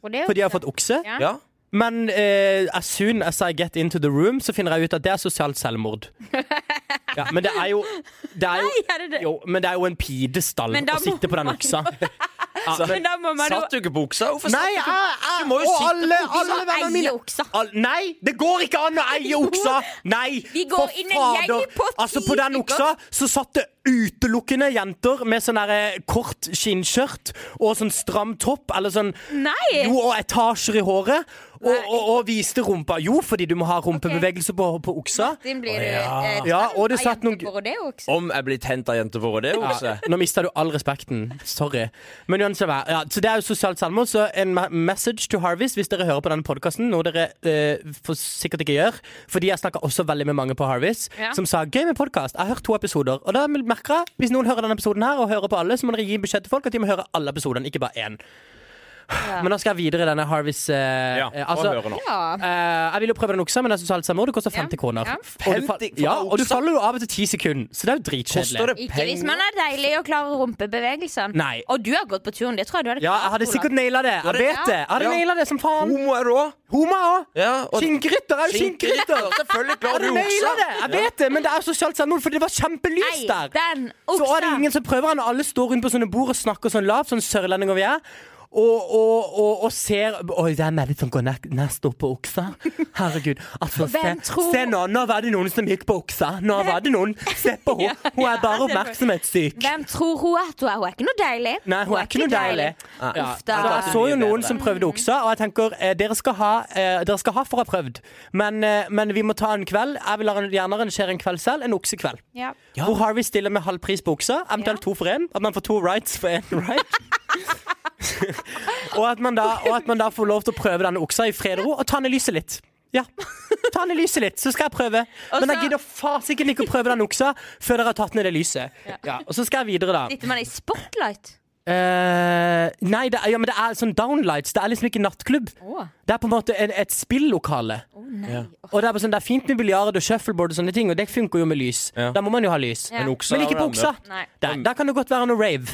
Og det er jo-
for de har fått okse.
Ja.
ja.
Men eh, as soon as I get into the room, så finner jeg ut at det er sosialt
(laughs)
selvmord. Ja, men det er jo, det er jo
er det det?
Jo, men det er jo en pidestall
Men da
å
må
sitte på den oksa.
(laughs)
Ja,
Så-
men,
Men da må man jo
Satt du ikke buksa? Hvorfor
nei,
satt du
jeg,
ikke
jeg,
Du må jo
og
sitte
alle,
på
alle vennene
eie
mine
oksa.
Al- Nei, det går ikke an å eie oksa! Nei,
Vi går
for
inn en gjeng
fader.
på ti
Altså, på den
stykker.
oksa så satt det utelukkende jenter med sånn derre kort skinnskjørt og sånn stram topp, eller sånn
Nei.
Jo, og etasjer i håret. Og, og, og viste rumpa. Jo, fordi du må ha rumpebevegelse på, på oksa.
Din blir du
ja.
eh,
Ja, og det
av
satt noen-
jentebord, og det er jo også.
Om jeg blir tent av jenter for det, Okse?
Ja, nå mista du all respekten. Sorry. Men uansett, hva- ja, så det er jo sosialt selvmord, så en me- message to Harvest hvis dere hører på denne podkasten, noe dere eh, for sikkert ikke gjør, fordi jeg snakka også veldig med mange på Harvest,
Ja.
som sa 'gøy med podkast', jeg har hørt to episoder. Og da merker jeg, hvis noen hører denne episoden her, og hører på alle, så må dere gi beskjed til folk at de må høre alle episodene, ikke bare én. Men da skal jeg videre i denne Harvest eh,
Ja,
eh,
få høre nå.
Ja.
Eh, jeg vil jo prøve den oksa, men det er sosialt selvmord. Det koster
Ja.
50 kroner.
Ja.
Og, du,
50
fa-
for
ja, og du
oksa?
faller jo av etter 10 sekunder, så det er jo dritkjedelig.
Koster det
Ikke hvis
penger?
man er deilig og klarer rumpebevegelsene.
Nei.
Og du har gått på turen. Det tror jeg du hadde
Ja, jeg hadde
Olav.
sikkert naila det. Jeg vet det. Jeg hadde
Ja.
naila det som faen.
Homo er du òg?
Homa òg.
Ja, og-
Skinngryter er jo
Skinngutter!
skinngryter.
Selvfølgelig
Jeg
klarer
hadde
du oksa!
naila det. Jeg vet det, men det er sosialt selvmord fordi det var kjempelys
Nei,
der.
den
Så
oksa.
er det ingen som prøver han, og alle står rundt på sånne bord og snakker sånn lavt, sånn sørlendinger vi er. Og, og, og, og ser Oi, hvem er det som går nest, nest opp på oksa? Herregud. Altså, se,
Hvem tror-
se nå. Nå var det noen som gikk på oksa. Nå var det noen. Se på henne. Hun er bare oppmerksomhetssyk.
Hvem tror hun at hun er? Hun er ikke noe deilig.
Nei, hun er ikke noe deilig.
Ja.
Uff da.
Så jeg så jo
Mye
noen
bedre.
som prøvde oksa, og jeg tenker eh, dere, skal ha, eh, dere skal ha for å ha prøvd. Men, eh, men vi må ta en kveld. Jeg vil arran- gjerne arrangere en kveld selv, en oksekveld.
Ja.
Hvor Harvey stiller med halv pris på oksa, eventuelt to for én. At man får to rights for én (laughs) right. og, at man da, og at man da får lov til å prøve denne oksa i fred og ro, og ta ned lyset litt. Ja. Ta ned lyset litt, så skal jeg prøve. Men jeg
så-
gidder fasiken ikke å prøve den oksa før dere har tatt ned det lyset. Ja. Og så skal jeg videre, da.
Sitter man i spotlight?
Eh, nei, det er, ja, men det er sånn downlights. Det er liksom ikke nattklubb.
Å.
Det er på en måte en, et spillokale.
Å nei. Å,
Og det er, bare sånn, det er fint med biljard og shuffleboard, og sånne ting Og det funker jo med lys.
Ja.
Da må man jo ha lys.
Ja. Men
oksa
men ikke
er
på
jo
oksa.
Nei.
Der, der kan det godt være noe rave.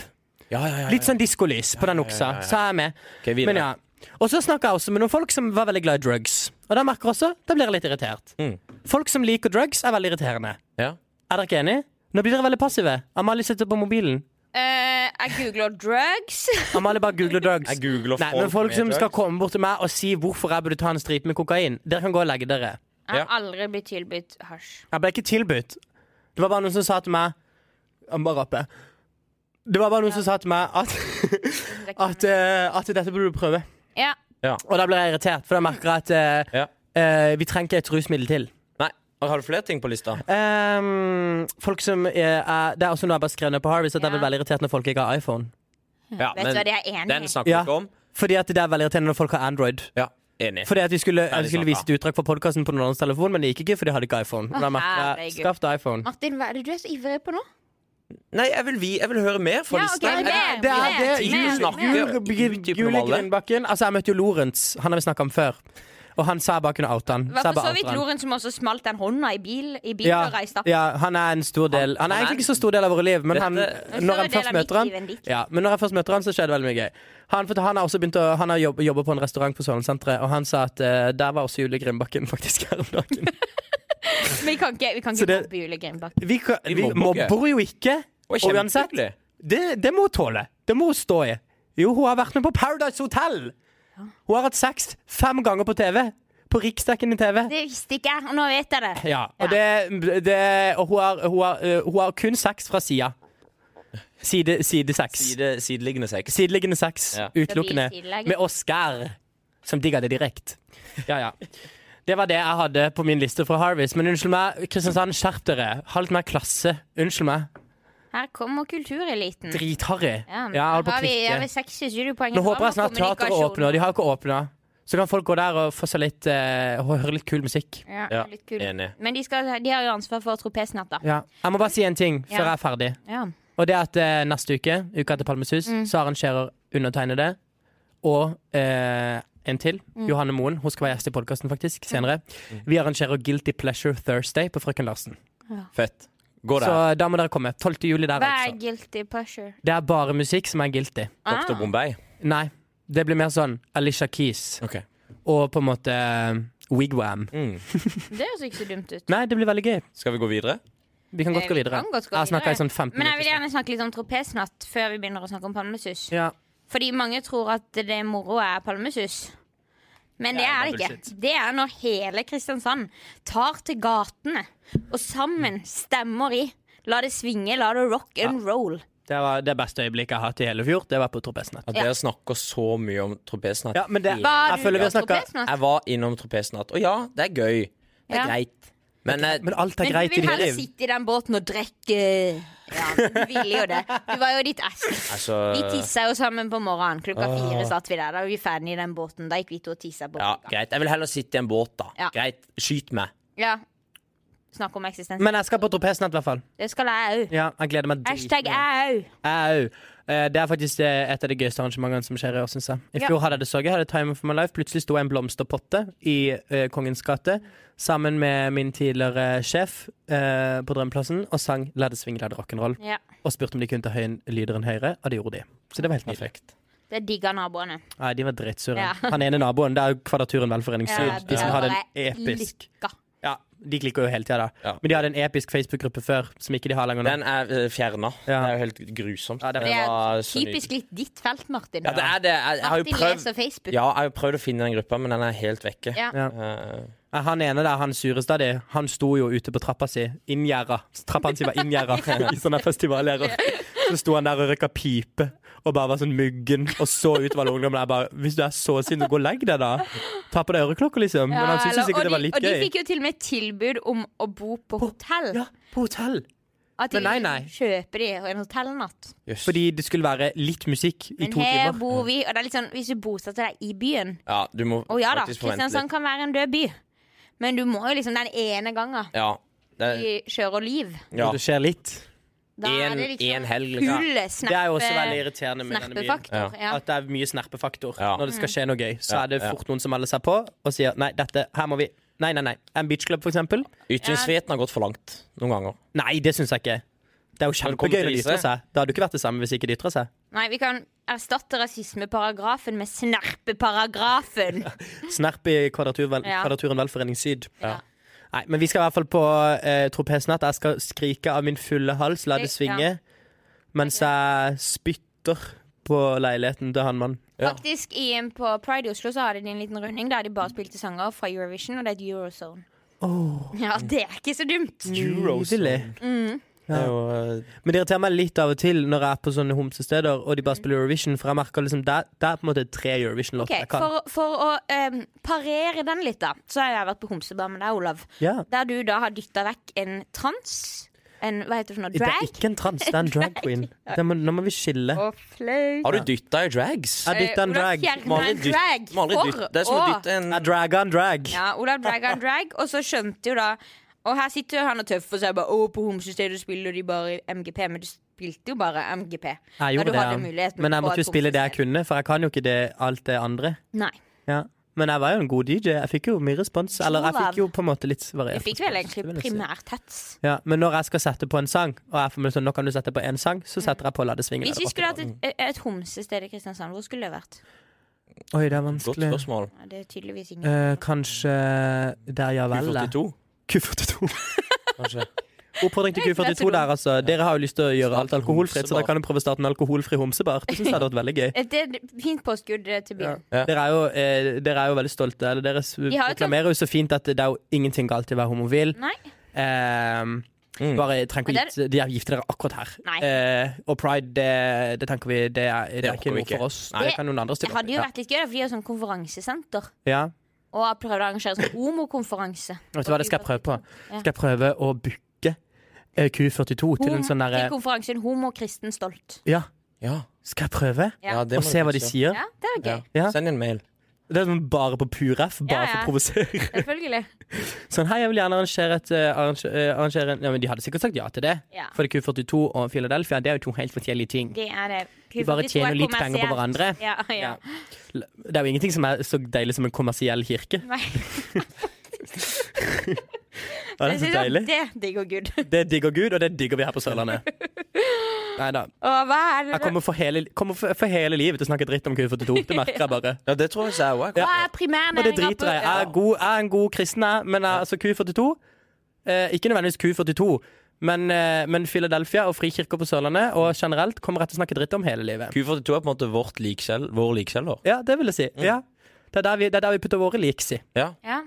Ja, ja, ja,
Litt sånn diskolys på den oksa. Så er jeg med.
Ok, videre.
Men ja. Og så snakker jeg også med noen folk som var veldig glad i drugs. Og da merker jeg også, da blir jeg litt irritert.
Mm.
Folk som liker drugs, er veldig irriterende.
ja.
Er dere ikke enige? Nå blir dere veldig passive. Amalie sitter på mobilen.
Eh, jeg googler drugs. (laughs)
Amalie bare googler drugs.
Jeg googler
Nei, men folk som skal komme bort til meg og si hvorfor jeg burde ta en stripe med kokain, dere kan gå og legge dere.
Jeg har
Ja.
aldri blitt tilbudt hasj.
Jeg ble ikke tilbudt. Det var bare noen som sa til meg Jeg må bare rappe. Det var bare noen som sa til meg at, at, eh, at dette burde du prøve.
Ja.
Og da ble jeg irritert, for da merker jeg at eh,
Ja.
eh, vi trenger ikke et rusmiddel til.
Nei, Har du flere ting på lista?
Ehm, folk som er, er, Det er også noe jeg bare skrev ned på Harvest, at jeg blir
Ja.
veldig irritert når folk ikke har iPhone.
Ja,
Vet du hva, det er jeg enig
den
i.
snakker vi
Ja.
ikke om.
Fordi at det er veldig irriterende når folk har Android.
Ja, Enig.
Fordi at vi skulle,
Veldig
jeg skulle
sant,
vise et utdrag fra podkasten på noen annens telefon, men det gikk ikke, for de hadde ikke iPhone. Og da merker jeg,
herregud.
Skaff deg iPhone.
Martin, hva er det du er så ivrig på nå?
Nei, jeg vil, vi, jeg vil høre mer fra
Ja, ok,
lista. Jeg-
mer.
jeg-
Det er
Mer,
det.
mer,
Jul-
mer.
Jul-
Utdyp
Jule
noe, Valle.
Grindbakken. Altså, jeg møtte jo Lorentz. Han har vi snakka om før. Og han sa jeg bare kunne oute han.
Var
Så jeg
for
bare
så vidt
outer han.
Loren som også smalt den hånda i bil I bilen og
Ja,
reiste.
ja, han er en stor del Han er egentlig ikke så stor del av våre liv, men han,
Dette-
når, jeg
Større del
først møter
av mitt liv enn
han,
ditt. (laughs)
ja, men når jeg først møter han, så skjer det veldig mye gøy. Han, for han har også begynt å Han har jobb, jobber på en restaurant på Sørlandssenteret, og han sa at eh, der var også Julie Grindbakken faktisk her om dagen.
Vi kan ikke, vi kan
Så
ikke
det-
mobbe Julie Grindbakk.
Vi, kan-
Vi
vi
mobber ikke.
mobber jo ikke,
Oi,
og uansett
kjempehyggelig.
det, det må hun tåle. Det må hun stå i. Jo, hun har vært med på Paradise Hotel! Hun har hatt sex fem ganger på TV. På riksdekkende TV.
Det visste ikke jeg, og nå vet jeg det.
Ja, og, det, det, og hun, har, hun, har, eh, hun har kun sex fra sida. Side, side sex.
Side, sideliggende sex.
Sideliggende sex.
Ja.
Utelukkende.
Det blir sideleggende.
Med Oscar, som digger det direkte. Ja, ja. Det var det jeg hadde på min liste fra Harvest. Men unnskyld meg, Kristiansand, skjerp dere. Ha litt mer klasse. Unnskyld meg.
Her kommer kultureliten.
Dritharry. Ja,
men
jeg holder på å
har vi, har
klikke.
vi 60 studiepoeng.
Nå håper jeg snart teateret
Kommunikasjon.
åpner. De har jo ikke åpna. Så kan folk gå der og få seg litt eh, og høre litt kul musikk.
Ja,
Ja,
litt kul.
enig.
Men de, skal, de har jo ansvar for tropesnatter.
Ja. Jeg må bare si en ting før
Ja.
jeg er ferdig.
Ja.
Og Og det er at eh, neste uke, uka til Palmesus, så arrangerer undertegnede og eh, en til, Johanne Moen, hun skal være gjest i podkasten faktisk, senere. Vi arrangerer Guilty Pleasure Thursday på Frøken Larsen.
Fett. Gå
Så eh,
der.
da må dere komme. 12. juli der,
Hva er
altså.
guilty pleasure? Ah,
Det er bare musikk som er guilty.
Dr. Bombay.
Nei, det blir mer sånn Alicia Keys
Ok.
og på en måte eh, Wigwam.
Det høres ikke så dumt ut.
Nei, det blir veldig gøy.
Mm. Skal vi gå videre?
Vi kan godt
Eh,
gå
vi
videre.
kan godt gå
Jeg har snakka i
videre.
sånn 15
Men jeg vil
minutter.
gjerne snakke litt om tropesnatt før vi begynner å snakke om palmesus.
Ja.
Fordi mange tror at det moro er palmesus. Men det
Ja, det
er
er
det ikke.
bullshit.
Det er når hele Kristiansand tar til gatene og sammen stemmer i. La det svinge, la det rock and roll.
Det var det beste øyeblikket jeg har hatt i hele fjor. Det var på Tropesnatt.
At dere snakker så mye om tropesnatt.
Ja, men det,
i-
Var
jeg
du
føler vi
på
har snakka
tropesnatt?
Jeg var innom tropesnatt. Og ja, det er gøy. Det er
Ja.
greit. Men, eh,
Men alt er
Men du
greit i
vil
ditt
heller
liv.
sitte i den båten og drikke. Ja, men du ville jo det. Du var jo ditt ass.
altså
Vi
Eh.
tissa jo sammen på morgenen. Klokka fire satt vi der. Da var vi ferdig i den båten. Da gikk vi to og tissa på.
Ja, greit. Jeg vil heller sitte i en båt, da.
Ja.
Greit. Skyt meg.
Ja. Snakk om eksistens.
Men jeg skal på Tropesnatt, i hvert fall.
Det skal jeg òg.
Ja, jeg gleder meg
Hashtag
dritmye.
jeg òg.
Au. Eh, Det er faktisk eh, et av de gøyeste arrangementene som skjer i år, syns jeg. I
Ja.
fjor hadde jeg det så gøy. Jeg Hadde Time for my life. Plutselig sto jeg i en blomsterpotte i eh, Kongens gate sammen med min tidligere sjef eh, på Drømmeplassen og sang La det svinge, la det rock'n'roll.
Ja.
Og spurte om de kunne ta høyen lyder enn høyre, og det gjorde de. Så det var helt nydelig.
Perfekt.
Det digger naboene.
Nei, de var drittsure.
Ja.
Han ene naboen, det er jo Kvadraturen velforeningssyd.
Ja,
de som
det
hadde
var
en episk
Lykka.
Ja, de klikker jo hele tida, da.
Ja.
Men de hadde en episk Facebook-gruppe før som ikke de har lenger nå.
Den er fjerna.
Ja.
eh, Det er jo helt grusomt.
Ja, det-
Det
var
er
så nydelig.
typisk litt ditt felt, Martin.
Ja, det er det. Jeg, jeg har jo
Martin
prøvd
leser Facebook.
Ja, jeg har jo prøvd å finne den gruppa, men den er helt vekke.
Ja.
Ja.
Eh,
Nei, Han ene der, han sureste av de, han sto jo ute på trappa si, inngjerda. Trappa hans var inngjerda
(laughs)
i sånne festivalgjerder. Så sto han der og røyka pipe og bare var sånn muggen og så utover ungdommen. Jeg bare Hvis du er så sint, så gå og legg deg, da. Ta på deg øreklokka, liksom. Men han syntes
eller-
jo sikkert
og
det var
de-
litt
Og de
gøy.
fikk jo til og med tilbud om å bo på hotell.
Ja, på hotell.
At de
Men nei, nei.
kjøper de en hotellnatt.
jøss.
Fordi det skulle være litt musikk i
Men
to
her
timer.
bor vi, og det er litt sånn hvis du bosetter deg i byen
Ja, du må
Å ja da,
faktisk forvente
Kristiansand kan være en død by, men du må jo liksom den ene gangen
litt. Ja. Det,
Eh,
de kjører liv.
ja.
Og det skjer litt.
Da
En-
er det
en
liksom
helg, liksom.
full
Det er jo også veldig
snappe,
irriterende med denne byen.
snappefaktor. Ja. Mm.
At det er mye snerpefaktor.
Ja.
Når det skal skje noe gøy, så
Ja,
er det
ja.
fort noen som melder seg på og sier nei, dette, her må vi Nei, nei, nei. En beachclub, for eksempel.
Ytringsfriheten har gått for langt noen ganger.
Nei, det syns jeg ikke. Det er jo
Velkommen
kjempegøy
til
når de
Lise.
ytrer seg. Det hadde jo ikke vært det samme hvis ikke de ytrer seg.
Nei, vi kan erstatte rasismeparagrafen med snerpeparagrafen.
(laughs) Snerp i Kvadratur, vel,
Ja.
Kvadraturen velforening syd.
Ja.
Nei, men vi skal i hvert fall på eh, tropesnatt. Jeg skal skrike av min fulle hals, la det
Det-
svinge,
ja.
mens jeg spytter på leiligheten til han mannen.
Ja.
Faktisk i, På Pride i Oslo så hadde de en liten runding der de bare spilte sanger fra Eurovision, og det er et Eurozone. Ja, det er ikke så dumt.
Nydelig.
Det er jo eh,
Men det irriterer meg litt av og til når jeg er på sånne homsesteder og de bare spiller Eurovision, for jeg merker liksom det, det er på en måte tre
Mm. Ok,
Eurovision-låter jeg kan.
For, for å em, parere den litt, da, så har jeg vært på homsebar med deg, Olav.
Ja.
Der du da har dytta vekk en trans. En hva heter det for noe?
Det er
Drag?
ikke en trans, det er
(laughs)
en drag queen. Det må, nå må vi skille.
Å, flaut.
Har du dytta i drags?
Jeg dytta en drag.
Må aldri
en Eh,
dytte-
drag
må aldri
for
dytte- Det er som å
å-
dytte en
Jeg dragga en drag.
mm. Ja, Olav drag on drag, og så skjønte jo da Og her sitter jo han og tøffer seg bare Å, på homsestedet spiller de bare MGP, men du spilte jo bare MGP.
Jeg
da
gjorde
du hadde
det, ja.
muligheten
men jeg
på
måtte jo
et
spille det jeg
homsested.
kunne, for jeg kan jo ikke det, alt det andre.
Nei.
Ja. Men jeg var jo en god DJ. Jeg fikk jo mye respons. Eller jeg fikk jo på en måte litt
Vi
variert.
fikk vel
respons, det
egentlig
vil jeg si.
primært hets.
Ja, men når jeg skal sette på en sang, og jeg får meg sånn, nå kan du sette på én sang, så setter jeg på La det svinge.
Mm.
la
Hvis vi
det
skulle
rock'n'roll.
hatt et, et homsested i Kristiansand, hvor skulle det vært?
Oi, det er
Godt
vanskelig.
spørsmål.
Ja, det er tydeligvis ingen.
Eh, kanskje eh, Der ja vel. er.
U42,
Q42. (laughs)
kanskje.
Oppfordring til
Det er
Q42
ikke
der, altså. Dere har jo lyst til å gjøre alt
Starte
alkoholfritt, så
homsebar.
dere kan jo prøve å starte en alkoholfri homsebar. Det synes jeg hadde vært veldig gøy.
Det er et fint påskudd eh, til byen.
Ja.
Dere er jo, eh, dere er jo veldig stolte. Eller dere s-
har jo
reklamerer jo så fint at det er jo ingenting galt i å være homofil.
Nei.
Ehm,
Mm.
Bare trenger ikke
Men
å gifte De er gifte dere akkurat her.
Nei.
Eh, og pride, det, det tenker vi Det er, det er ikke
orker vi
noe
ikke.
for oss.
Nei.
Det kan noen andre
Det
stille opp
hadde
i.
jo vært litt gøy, da, for de har sånn konferansesenter.
Ja.
Og har prøvd å arrangere sånn homokonferanse.
Vet du hva, det skal jeg prøve på.
Ja.
Skal jeg prøve å booke eh, Q42 (laughs) til en
Homo-
sånn
Til
derre
konferansen Homo kristen stolt.
Ja,
Ja.
skal jeg prøve?
Ja.
ja, det
Og
må
se
du
hva de
fikse.
sier?
Ja, det er gøy.
Ja.
Ja.
Send en mail.
Det er sånn bare på pur F, bare
Ja,
for
ja.
å provosere. (laughs)
Selvfølgelig.
Sånn, hei, jeg vil gjerne arrangere et eh, arrange, eh, arrangere en- Ja, men de hadde sikkert sagt ja til det.
Ja.
For det er Q42 og Philadelphia, det er jo to helt forskjellige ting.
Det er det.
De bare
Hvis du er
tjener litt penger på
kommersielt-
hverandre.
Ja, ja.
Ja. Det er jo ingenting som er så deilig som en kommersiell
(laughs)
kirke.
(laughs) Nei.
Ja, det er så
Jeg synes at
deilig.
Det digger Gud.
Det digger Gud, og det digger vi her på Sørlandet. Nei da.
(laughs) Og hva er det
Jeg kommer for hele, kommer for, for hele livet til å snakke dritt om Q42. Det merker jeg bare.
Ja, det tror jeg ikke jeg òg.
Hva er primærnæringa
Og det driter jeg i. Jeg er, god, jeg er en god kristen, jeg, men jeg, altså Q42 eh, Ikke nødvendigvis Q42, men, eh, men Philadelphia og frikirker på Sørlandet og generelt kommer jeg til å snakke dritt om hele livet.
Q42 er på en måte vårt likskjell, vår likkjeller.
Ja, det vil jeg si. Ja. Det er der vi, det er der vi putter våre liks i.
Ja.
Ja.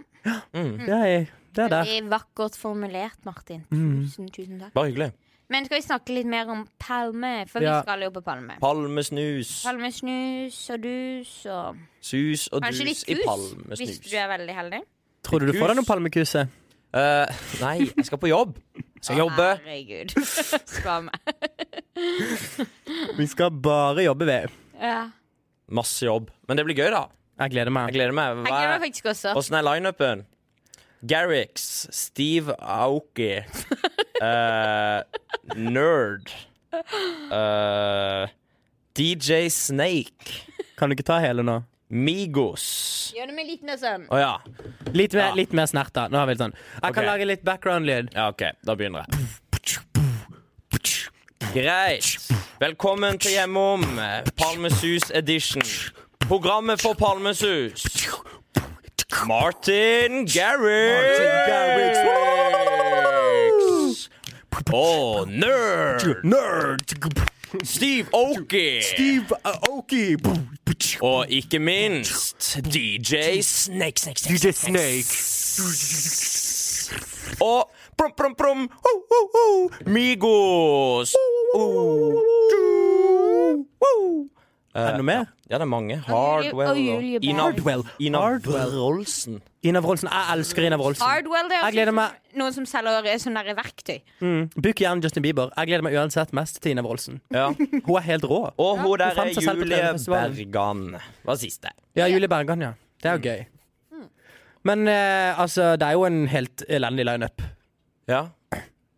Det er, det er der. Mm.
Veldig vakkert formulert, Martin. Tusen, tusen takk.
Bare hyggelig.
Men skal vi snakke litt mer om Palme? For
Ja.
vi skal jo på Palme.
Palmesnus.
Palmesnus og dus og
Sus og
Kanskje
dus
litt
i
kus, hvis
palmesnus.
du er veldig heldig.
Tror du du får deg noen palmekuse?
Eh, nei, jeg skal på jobb. Jeg skal jobbe.
Herregud. (laughs) Spar meg.
Vi skal bare jobbe ved.
Ja.
Masse jobb. Men det blir gøy, da.
Jeg gleder
Jeg
meg.
gleder meg.
Jeg gleder meg faktisk også.
Åssen er lineupen? Garrix, Steve
(laughs)
Aoki, eh, Nerd eh, DJ Snake,
Kan du ikke ta hele nå?
Migos
Gjør det med litt mer sånn.
Å ja.
Litt mer,
Ja.
litt mer snert, da. Nå har vi litt sånn. Jeg
Ok.
kan lage litt background-lyd.
Ja, OK. Da begynner jeg. Greit. Velkommen til Hjemom, Palmesus edition. Programmet for Palmesus. Martin
Garrix.
Garrix. Og nerd
Nerd!
Steve Oki.
Steve Aoki!
Og ikke minst DJ Snake. Snake, Snake,
DJ Snake.
Og prom, prom, prom. Ho, ho, ho. Migos.
Er det noe mer?
Eh, Ja, det er mange. Hardwell
Og Julie Berg.
Hardwell.
Ina
Hardwell.
Brolsen.
Ina Wroldsen. Jeg elsker Ina Wroldsen.
Hardwell, det er
Jeg gleder
også
meg.
noen som selger eh, sånne der verktøy.
Book gjerne Justin Bieber. Jeg gleder meg uansett mest til Ina Wroldsen.
Ja.
Hun er helt rå.
Og hun der er
fant seg selv på
Julie
Trønderfestivalen.
Bergan. Var siste.
Ja, Julie Bergan, ja. Det er jo gøy.
Mm.
Men eh, altså, det er jo en helt elendig lineup.
Ja.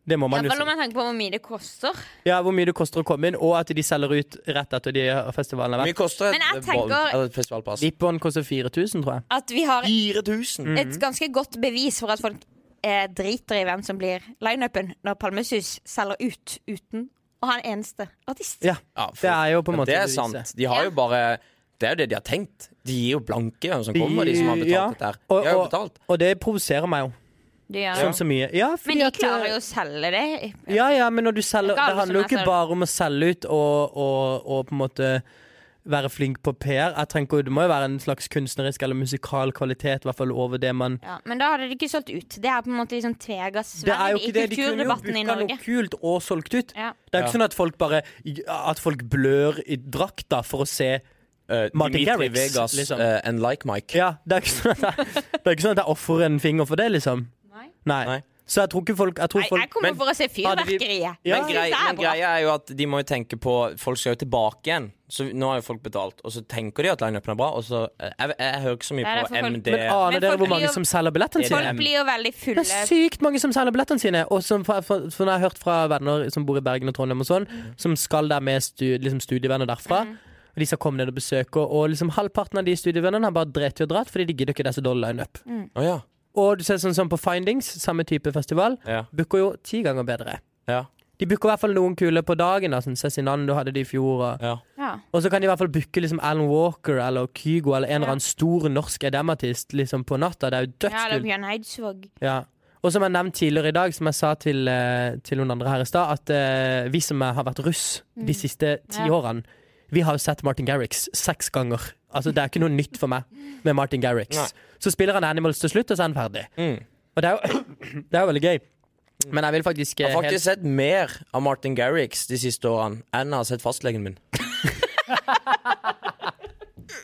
Det må man jo
Iallfall om
si.
man tenker på hvor mye det koster.
Ja, Hvor mye det koster å komme inn, og at de selger ut rett etter de festivalen har
Hvor
vært.
mye koster et,
Men jeg
bo-
tenker-
et festivalpass?
Vippon koster 4000, tror jeg.
At vi har
4000.
et ganske godt bevis for at folk eh, driter i hvem som blir lineupen når Palmesus selger ut uten å ha en eneste artist.
Ja,
Ja, for-
Det er jo på en
Ja,
måte
Det er
beviset.
sant. De har jo bare Det er jo det de har tenkt. De gir jo blanke hvem som kommer, de som har betalt
Ja,
dette her.
og-
De har jo
og-
betalt.
Og det provoserer meg jo.
Det gjør
Sånn
det.
så mye. Ja,
Men de
at,
klarer
eh,
jo å selge det.
Ja, ja, men når du selger,
Det er ikke alle
det handler jo
som er
ikke
selv-
bare om å selge ut og, og, og på en måte være flink på PR. Jeg tenker, jo- Det må jo være en slags kunstnerisk eller musikal kvalitet i hvert fall over det man
Ja, men da hadde de ikke solgt ut. Det er på en måte liksom tvegas
det er jo
sverd i
ikke det. De kunne jo
kulturdebatten i
booka noe
Norge.
kult og solgt ut.
Ja.
Det er jo ikke sånn at folk bare At folk blør i drakta for å se
Eh,
Martin
Dimitri
Garrix,
Vegas
liksom.
eh, and like Mike.
Ja, det er ikke sånn at jeg, det er ikke sånn at jeg ofrer en finger for det, liksom.
Nei.
Nei.
Nei.
Så jeg tror ikke folk Jeg tror
Nei,
folk
jeg kommer
Men-
for å se
Hadde vi-
fyrverkeriet.
Ja.
Men, grei,
Det er
men
bra.
greia er jo at de må jo tenke på Folk skal jo tilbake igjen. Så nå har jo folk betalt, og så tenker de at lineupen er bra, og så eh, Jeg, jeg hører ikke så mye
Nei, det er
på
for folk-
MD.
Men ah. aner
Men
dere
folk
hvor
blir
mange
jo-
som selger billettene
Det er
sine?
det.
Folk blir jo veldig fulle.
Det er sykt mange som selger billettene sine. Og som fra, fra, for når jeg har hørt fra venner som bor i Bergen og Trondheim, og sånn som skal der med stu, liksom studievenner derfra. Og De skal komme ned og besøke, og liksom halvparten av de studievennene har bare drept i å dra fordi de gidder ikke disse dårlige line-up.
Å ja.
Og du ser sånn som på Findings, samme type festival,
Ja.
booker jo ti ganger bedre.
ja.
De booker i hvert fall noen kule på dagen. da, Sånn Cezinando hadde de i fjor. Og,
ja.
Ja.
og så kan de i hvert fall booke liksom Alan Walker eller Kygo eller en eller annen stor norsk EDM-artist liksom på natta. Det er jo
ja, eller
dødskult.
Bjørn Eidsvåg.
Ja. Og som jeg nevnte tidligere i dag, som jeg sa til, eh, til noen andre her i stad, at eh, vi som har vært russ de siste ti
Ja.
årene, vi har jo sett Martin Garrix seks ganger. Altså, det er ikke noe nytt for meg med Martin Garrix.
Nei.
Så spiller han Animals til slutt, og så er han ferdig.
Mm.
Og det er jo, (coughs) det er jo veldig gøy. Men jeg vil faktisk, eh,
Jeg har faktisk sett mer av Martin Garrix de siste årene enn jeg har sett fastlegen
(laughs)
min.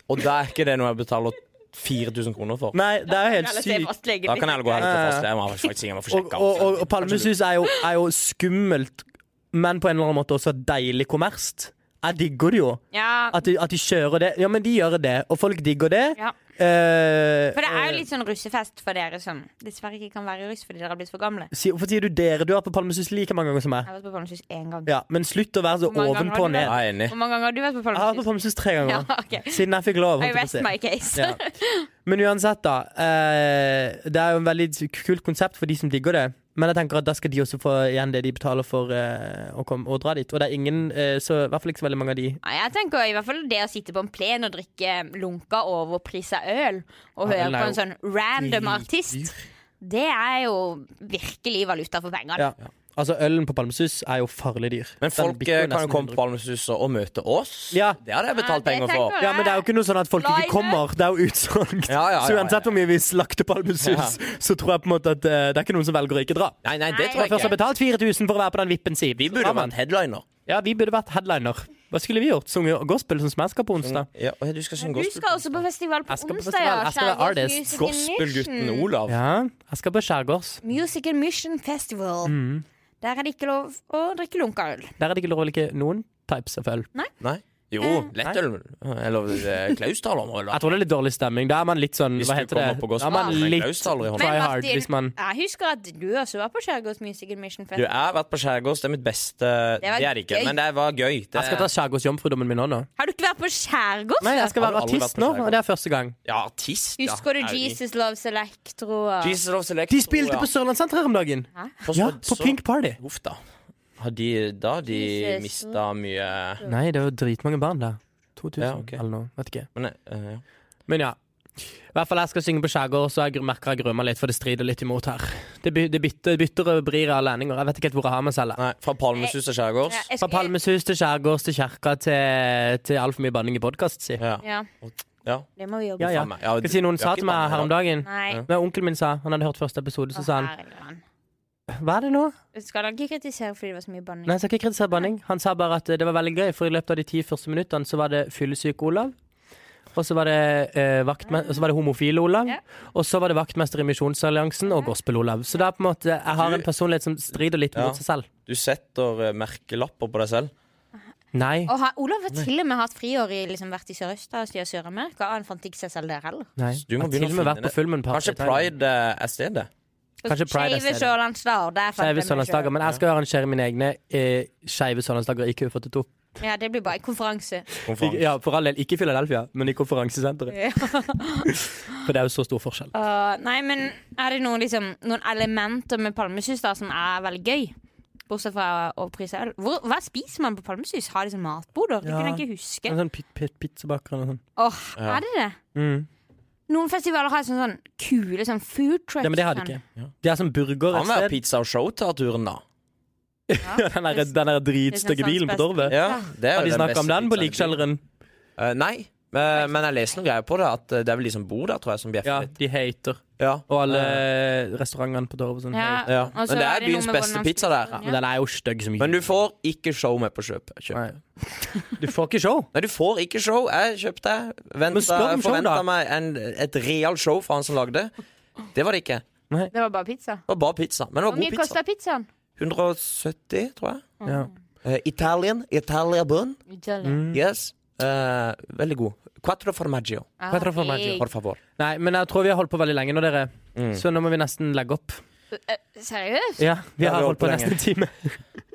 og da er ikke det noe jeg betaler 4000 kroner for.
helt Nei, det er jo helt
Eller se
sykt.
fastlegen
Da
din.
kan jeg heller gå og hente fastlegen. Jeg må faktisk jeg må få
Og,
sjekka
og, og,
alt.
og Palmesus er jo, er jo skummelt, men på en eller annen måte også deilig kommerst. Jeg digger det jo.
Ja,
At de, at de kjører det. Ja, men de gjør det, og folk digger det.
ja.
Eh,
For det er
eh,
jo litt sånn russefest for dere som dessverre ikke kan være russ fordi dere har blitt for gamle.
si, Hvorfor sier du dere? Du har vært på Palmesus like mange ganger som
Jeg
meg.
har vært på Palmesus én gang.
Ja, Men slutt å være så
Hvor mange ganger
ovenpå
har
og
du
ned.
vært?
Jeg er enig.
Hvor mange ganger har du vært på
Jeg har vært på Palmesus
Palmesus?
tre ganger.
Ja, ok.
Siden jeg fikk lov. holdt
I
jeg på å
rest
si.
my case.
Ja. Men uansett, da. Eh, det er jo en veldig kult konsept for de som digger det. Men jeg tenker at da skal de også få igjen det de betaler for eh, å, komme, å dra dit. Og det er ingen, eh, så i hvert fall ikke så veldig mange av de.
Nei, Jeg tenker i hvert fall det å sitte på en plen og drikke lunka overprisa øl og
Ja,
høre
den er
på
jo
en sånn random artist, det er jo virkelig valuta for pengene.
Ja. Altså, ølen på Palmesus er jo farlig dyr.
Men
Den
folk
bikker jo
eh, kan
nesten
jo komme
100.
på Palmesuset og møte oss.
Ja.
Det hadde jeg betalt
Ja, det
penger for.
tenker jeg.
Ja, men det er jo ikke noe sånn at folk
Line
ikke
up.
kommer. Det er jo utsolgt.
Ja, ja, ja,
Så uansett hvor mye vi slakter Palmesus,
Ja.
så tror jeg på en måte at eh, det er ikke noen som velger å ikke dra.
Nei, nei,
Nei,
det tror
Først
jeg
har
ikke.
betalt 4000 for å være på den vippen, si.
Vi burde vært headliner.
Ja, vi burde vært headliner. Hva skulle vi gjort? Sunget gospel som jeg skal på onsdag?
Ja, og du skal synge
Du skal også på festival på
Jeg skal på
onsdag,
festival.
ja.
Jeg skal være
Skjærgårds
artist.
Music and
Gospelgutten
Mission.
Olav.
Ja, jeg skal på skjærgårds.
Music and Mission Festival. Der er det ikke lov å drikke lunkaøl.
Der er det ikke lov å like noen types av øl.
Nei? Jo, lettøl. Eller eh, Klausdal om øl.
Jeg tror det er litt dårlig stemning. Da er man litt sånn
Hvis
Hva
du
heter det?
kommer på
Da er
gospel
man
med en
litt
Klausdal i hånda.
try hard hvis man
jeg husker at du også var på Skjærgårds Music and Mission
Du,
Festival.
jeg har vært på skjærgårds. Det er mitt beste Det,
var
er det ikke,
gøy.
men det var gøy. Det,
Jeg skal ta skjærgårdsjomfrudommen min nå, nå.
Har du ikke vært på Skjærgårds?
Nei, jeg skal
Har du
være
aldri vært
artist
på
nå,
skjærgård?
og det er første gang.
ja, artist, ja.
Husker du
Er vi-
Jesus Loves Electro? og-
Jesus Loves Electro,
De spilte på
ja.
Sørlandssenteret her om dagen.
På
Ja,
Spødso.
på Pink Party.
Huff, da. Har de, da har de
Jesus.
mista mye
Nei, det var dritmange barn der. 2000
Ja, ok.
eller noe. Vet ikke.
Men eh, ja.
Men ja. I hvert fall jeg skal synge på skjærgård, så jeg gr- merker jeg gruer meg litt, for det strider litt imot her. Det, by, det bytter, bytter og vrir av lendinger. Jeg vet ikke helt hvor jeg har meg selv. jeg.
Nei, fra Palmesus til skjærgårds.
Ja, jeg
Fra
skulle-
Palmesus til skjærgårds til kirka til, til altfor mye banning i podkast, si.
Ja.
Ja,
Ja.
det må vi jobbe
Ja, ja.
Faen meg. Ja,
Skal jeg si noen
vi
sa
har ikke
til meg her om dagen
med. Nei.
Ja.
Når onkelen min sa Han hadde hørt første episode, så
Å,
sa han
herregud.
Hva er det nå?
Skal han ikke kritisere fordi det var så mye banning?
Nei, jeg skal ikke kritisere banning. Han sa bare at eh, det var veldig gøy, for i løpet av de ti første minuttene så var det fyllesyk Olav. Og så var det, eh, vaktme- og så var det homofile Olav.
Ja.
Og så var det vaktmester i Misjonsalliansen og gospel-Olav. Så det er på en måte, jeg har en personlighet som strider litt
Ja.
mot seg selv.
Du setter eh, merkelapper på deg selv.
Nei.
Og ha, Olav har til og med hatt friår i liksom, vært i Sørøst-Asia og Sør-Amerika. Han fant ikke seg selv der heller.
Nei.
Du må
jeg har til
begynne
og med
å finne
vært
det.
på Fullmoon Party.
Kanskje Pride eh, er stedet?
Kanskje Pride er
Skeive
stedet.
Sørlandsdager. Der fant jeg
Skeive
meg
sørlandsdager.
selv.
Men jeg skal arrangere mine egne eh, skeive sørlandsdager i Q42.
Ja, det blir bare en konferanse.
Ikke-
Konferanse.
Ja, for all del. Ikke i Philadelphia, men i konferansesenteret.
Ja.
(laughs) For det er jo så stor forskjell.
Uh, nei, men er det noen, liksom, noen elementer med palmesus da som er veldig gøy? Bortsett fra å prise øl. Hvor, hva spiser man på palmesus? Har de sånn matboder? Det
Ja.
kunne jeg ikke huske.
En sånn pit, pit, pizzabaker eller noe sånt.
Åh, Er det det?
Mm.
Noen festivaler har sånn, sånn kule sånn food trucks.
Ja, men det har de
sånn.
ikke. De er som burger
Han
et
var
sted.
pizza og show-turen, da.
Ja, den der, den der
Det
dritstygge
er sånn
bilen på
sant,
Torvet.
Ja, det er
Har
jo
de snakka
beste
om den på
pizzaen i byen.
likkjelleren?
Eh, nei, eh, men jeg leser noen greier på det. At eh, det er vel de som bor der, tror jeg, som bjeffer
Ja,
litt.
de hater.
Ja.
Og alle restaurantene på Torvet og sånn.
Ja,
hater.
Ja.
og så
Men det er
noe
byens
med
beste
hvordan-
pizza der.
Ja.
Men den er jo stygg som
Men du får ikke show med på kjøp. kjøp.
Nei. Du får ikke show.
Nei, du får ikke show. Jeg kjøpte.
Men
Venta,
spør om show,
forventa
da.
meg en, et real show fra han som lagde. Det var det ikke. Det
Det var bare pizza.
var bare pizza. Men det
Hvor
var
mye
god pizza.
kosta pizzaen?
170, tror jeg.
Ja.
Uh, Italian. Italia bun. Yes. Eh, veldig god. Quattro formaggio,
Hva heter det for meg?
por favor.
Nei, men jeg tror vi har holdt på veldig lenge nå, dere.
Mm.
Så nå må vi nesten legge opp.
Eh, Seriøst?
Ja, vi
Ja,
har holdt på nesten en time.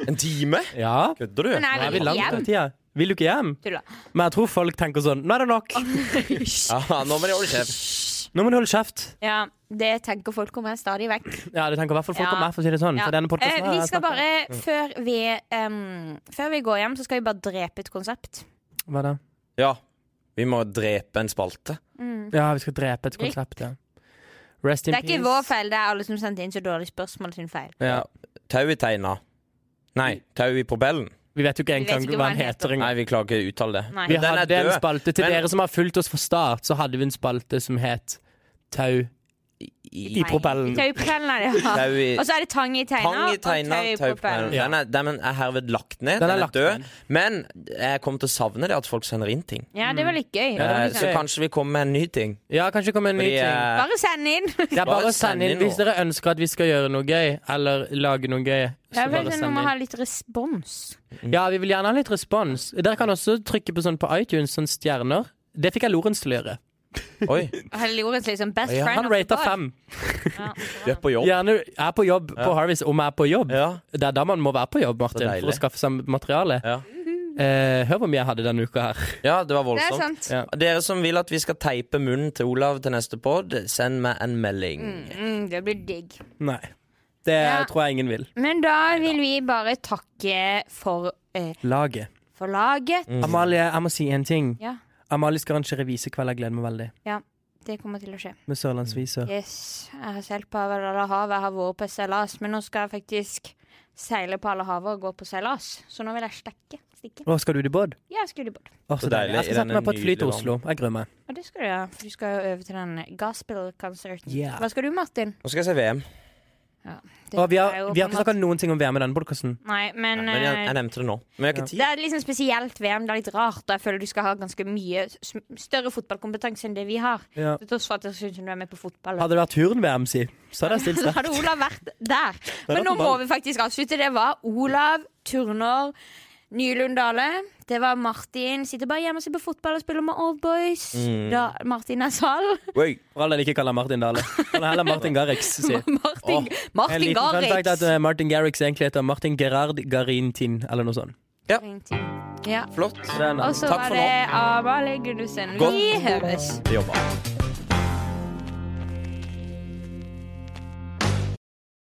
En time?
Ja.
Kødder du?
Men
Nå
jeg
er vi
vil
langt
hjem.
over tida. Vil du ikke hjem?
Tulla.
Men jeg tror folk tenker sånn Nå er det nok.
Ja, nå må de holde kjeft.
Nå må du holde kjeft.
Ja, det tenker folk om meg stadig vekk.
Ja, det tenker i hvert fall folk
Ja.
om meg, for å si det sånn.
Ja.
For denne podcasten
Eh,
her,
vi
jeg
skal
snakker-
bare, før vi, em, før vi går hjem, så skal vi bare drepe et konsept.
Hva da?
Ja. Vi må drepe en spalte.
Ja, vi skal drepe et konsept, ja. Rest in
Mm. Det er
peace.
ikke vår feil, det er alle som sendte inn så dårlige spørsmål sin feil.
Ja.
Tau i teina. Nei, tau i propellen.
Vi vet jo ikke
vet
engang
ikke
hva han heter
Nei,
engang.
vi klarer ikke å uttale det.
Nei.
Vi
Men den er
hadde en
død.
spalte til
Men-
dere som har fulgt oss fra start, så hadde vi en spalte som het Tau
i
Nei,
propellen.
i Taupropellen er
(laughs)
det, ja.
Tau i
Og så er det tang i teiner
Pang i
og
teina,
taupropellen.
Ja.
Den er, den er herved lagt ned.
Den
Den
er
er,
lagt
død.
ned.
Men jeg kommer til å savne det at folk sender inn ting.
Ja, det var litt gøy.
Eh,
litt
så
gøy.
kanskje vi kommer med en ny ting.
Ja, kanskje det kommer en ny ting.
Fordi, eh,
Bare send inn!
Det er bare
bare
å sende
send
inn
inn
hvis
noe.
dere ønsker at vi skal gjøre noe gøy, eller lage noe gøy.
Ja,
Så
vel,
bare
vi
send
må ha
inn.
litt respons.
Ja, vi vil gjerne ha litt respons. Dere kan også trykke på sånn på iTunes, sånn stjerner. Det fikk jeg Lorentz til å gjøre.
oi,
Helle Jorens liksom best
Ja,
friend
Han
of the
rata
pod.
fem.
Ja,
vi er på jobb.
Gjerne er på jobb på Harvest om jeg er på jobb.
Ja.
Det er da man må være på jobb, Martin, for å
deilig.
skaffe seg materiale.
Ja.
Eh, hør hvor mye jeg hadde denne uka her.
ja, det var
det er sånn-
voldsomt.
sant.
Ja.
Dere som vil at vi skal teipe munnen til Olav til neste pod, send meg en melding.
Mm, det blir digg.
Nei. Det
Ja.
tror jeg ingen vil.
Men da vil vi bare takke for, eh,
Laget.
for laget.
Amalie, jeg må si en ting.
Ja,
Amalie skal arrangere visekveld. Jeg gleder meg veldig.
det kommer til å skje.
Med (laughs) sørlandsviser.
Yes, Jeg har seilt på Valhalla-havet, jeg har vært på seilas, men nå skal jeg faktisk seile på Valhalla-havet og gå på seilas. Så nå vil jeg stekke. Stikke.
Å, skal du ut i båt?
Ja, jeg skulle i båt.
Å, så
Så
deilig.
deilig,
Jeg skal
i
sette
denne
meg på et fly til
nydelige
Oslo. Jeg gruer meg.
Ja, det skal du gjøre, for du skal jo over til den gospel-konserten.
Yeah.
Hva skal du, Martin?
Nå skal jeg se VM.
Det
Og vi har,
er jo
vi har
på en
ikke snakka noen ting om VM i denne podkasten.
måte- Nei, men,
Men jeg,
eh,
jeg nevnte det nå. Men vi har ikke
Det
tid.
er liksom spesielt VM. Det er litt rart. og Jeg føler du skal ha ganske mye s- større fotballkompetanse enn det vi har.
Ja.
Til tross for at jeg syns du er med på fotball.
Hadde det vært turn-VM, si, så hadde jeg stilt
Så (laughs)
sterkt.
hadde Olav vært der. Men nå må
fotball.
vi faktisk avslutte. Det var Olav Turner Nylund Dale. Det var Martin. Sitter bare hjemme og ser på fotball og spiller med Old Boys.
Mm.
Da Martin er
(laughs)
sal.
Oi.
For all del ikke kall han Martin Dale. Han er heller Martin Garrix, si.
(laughs) Martin,
En
Martin
liten fun fact er at
Garrix.
eh, Martin Garrix egentlig heter Martin Gerard Garintin, eller noe sånn.
Ja.
Flott.
Det er en-
Og så
Takk
var
for
det Amalie Gunnussen. Vi høres.
Jobba.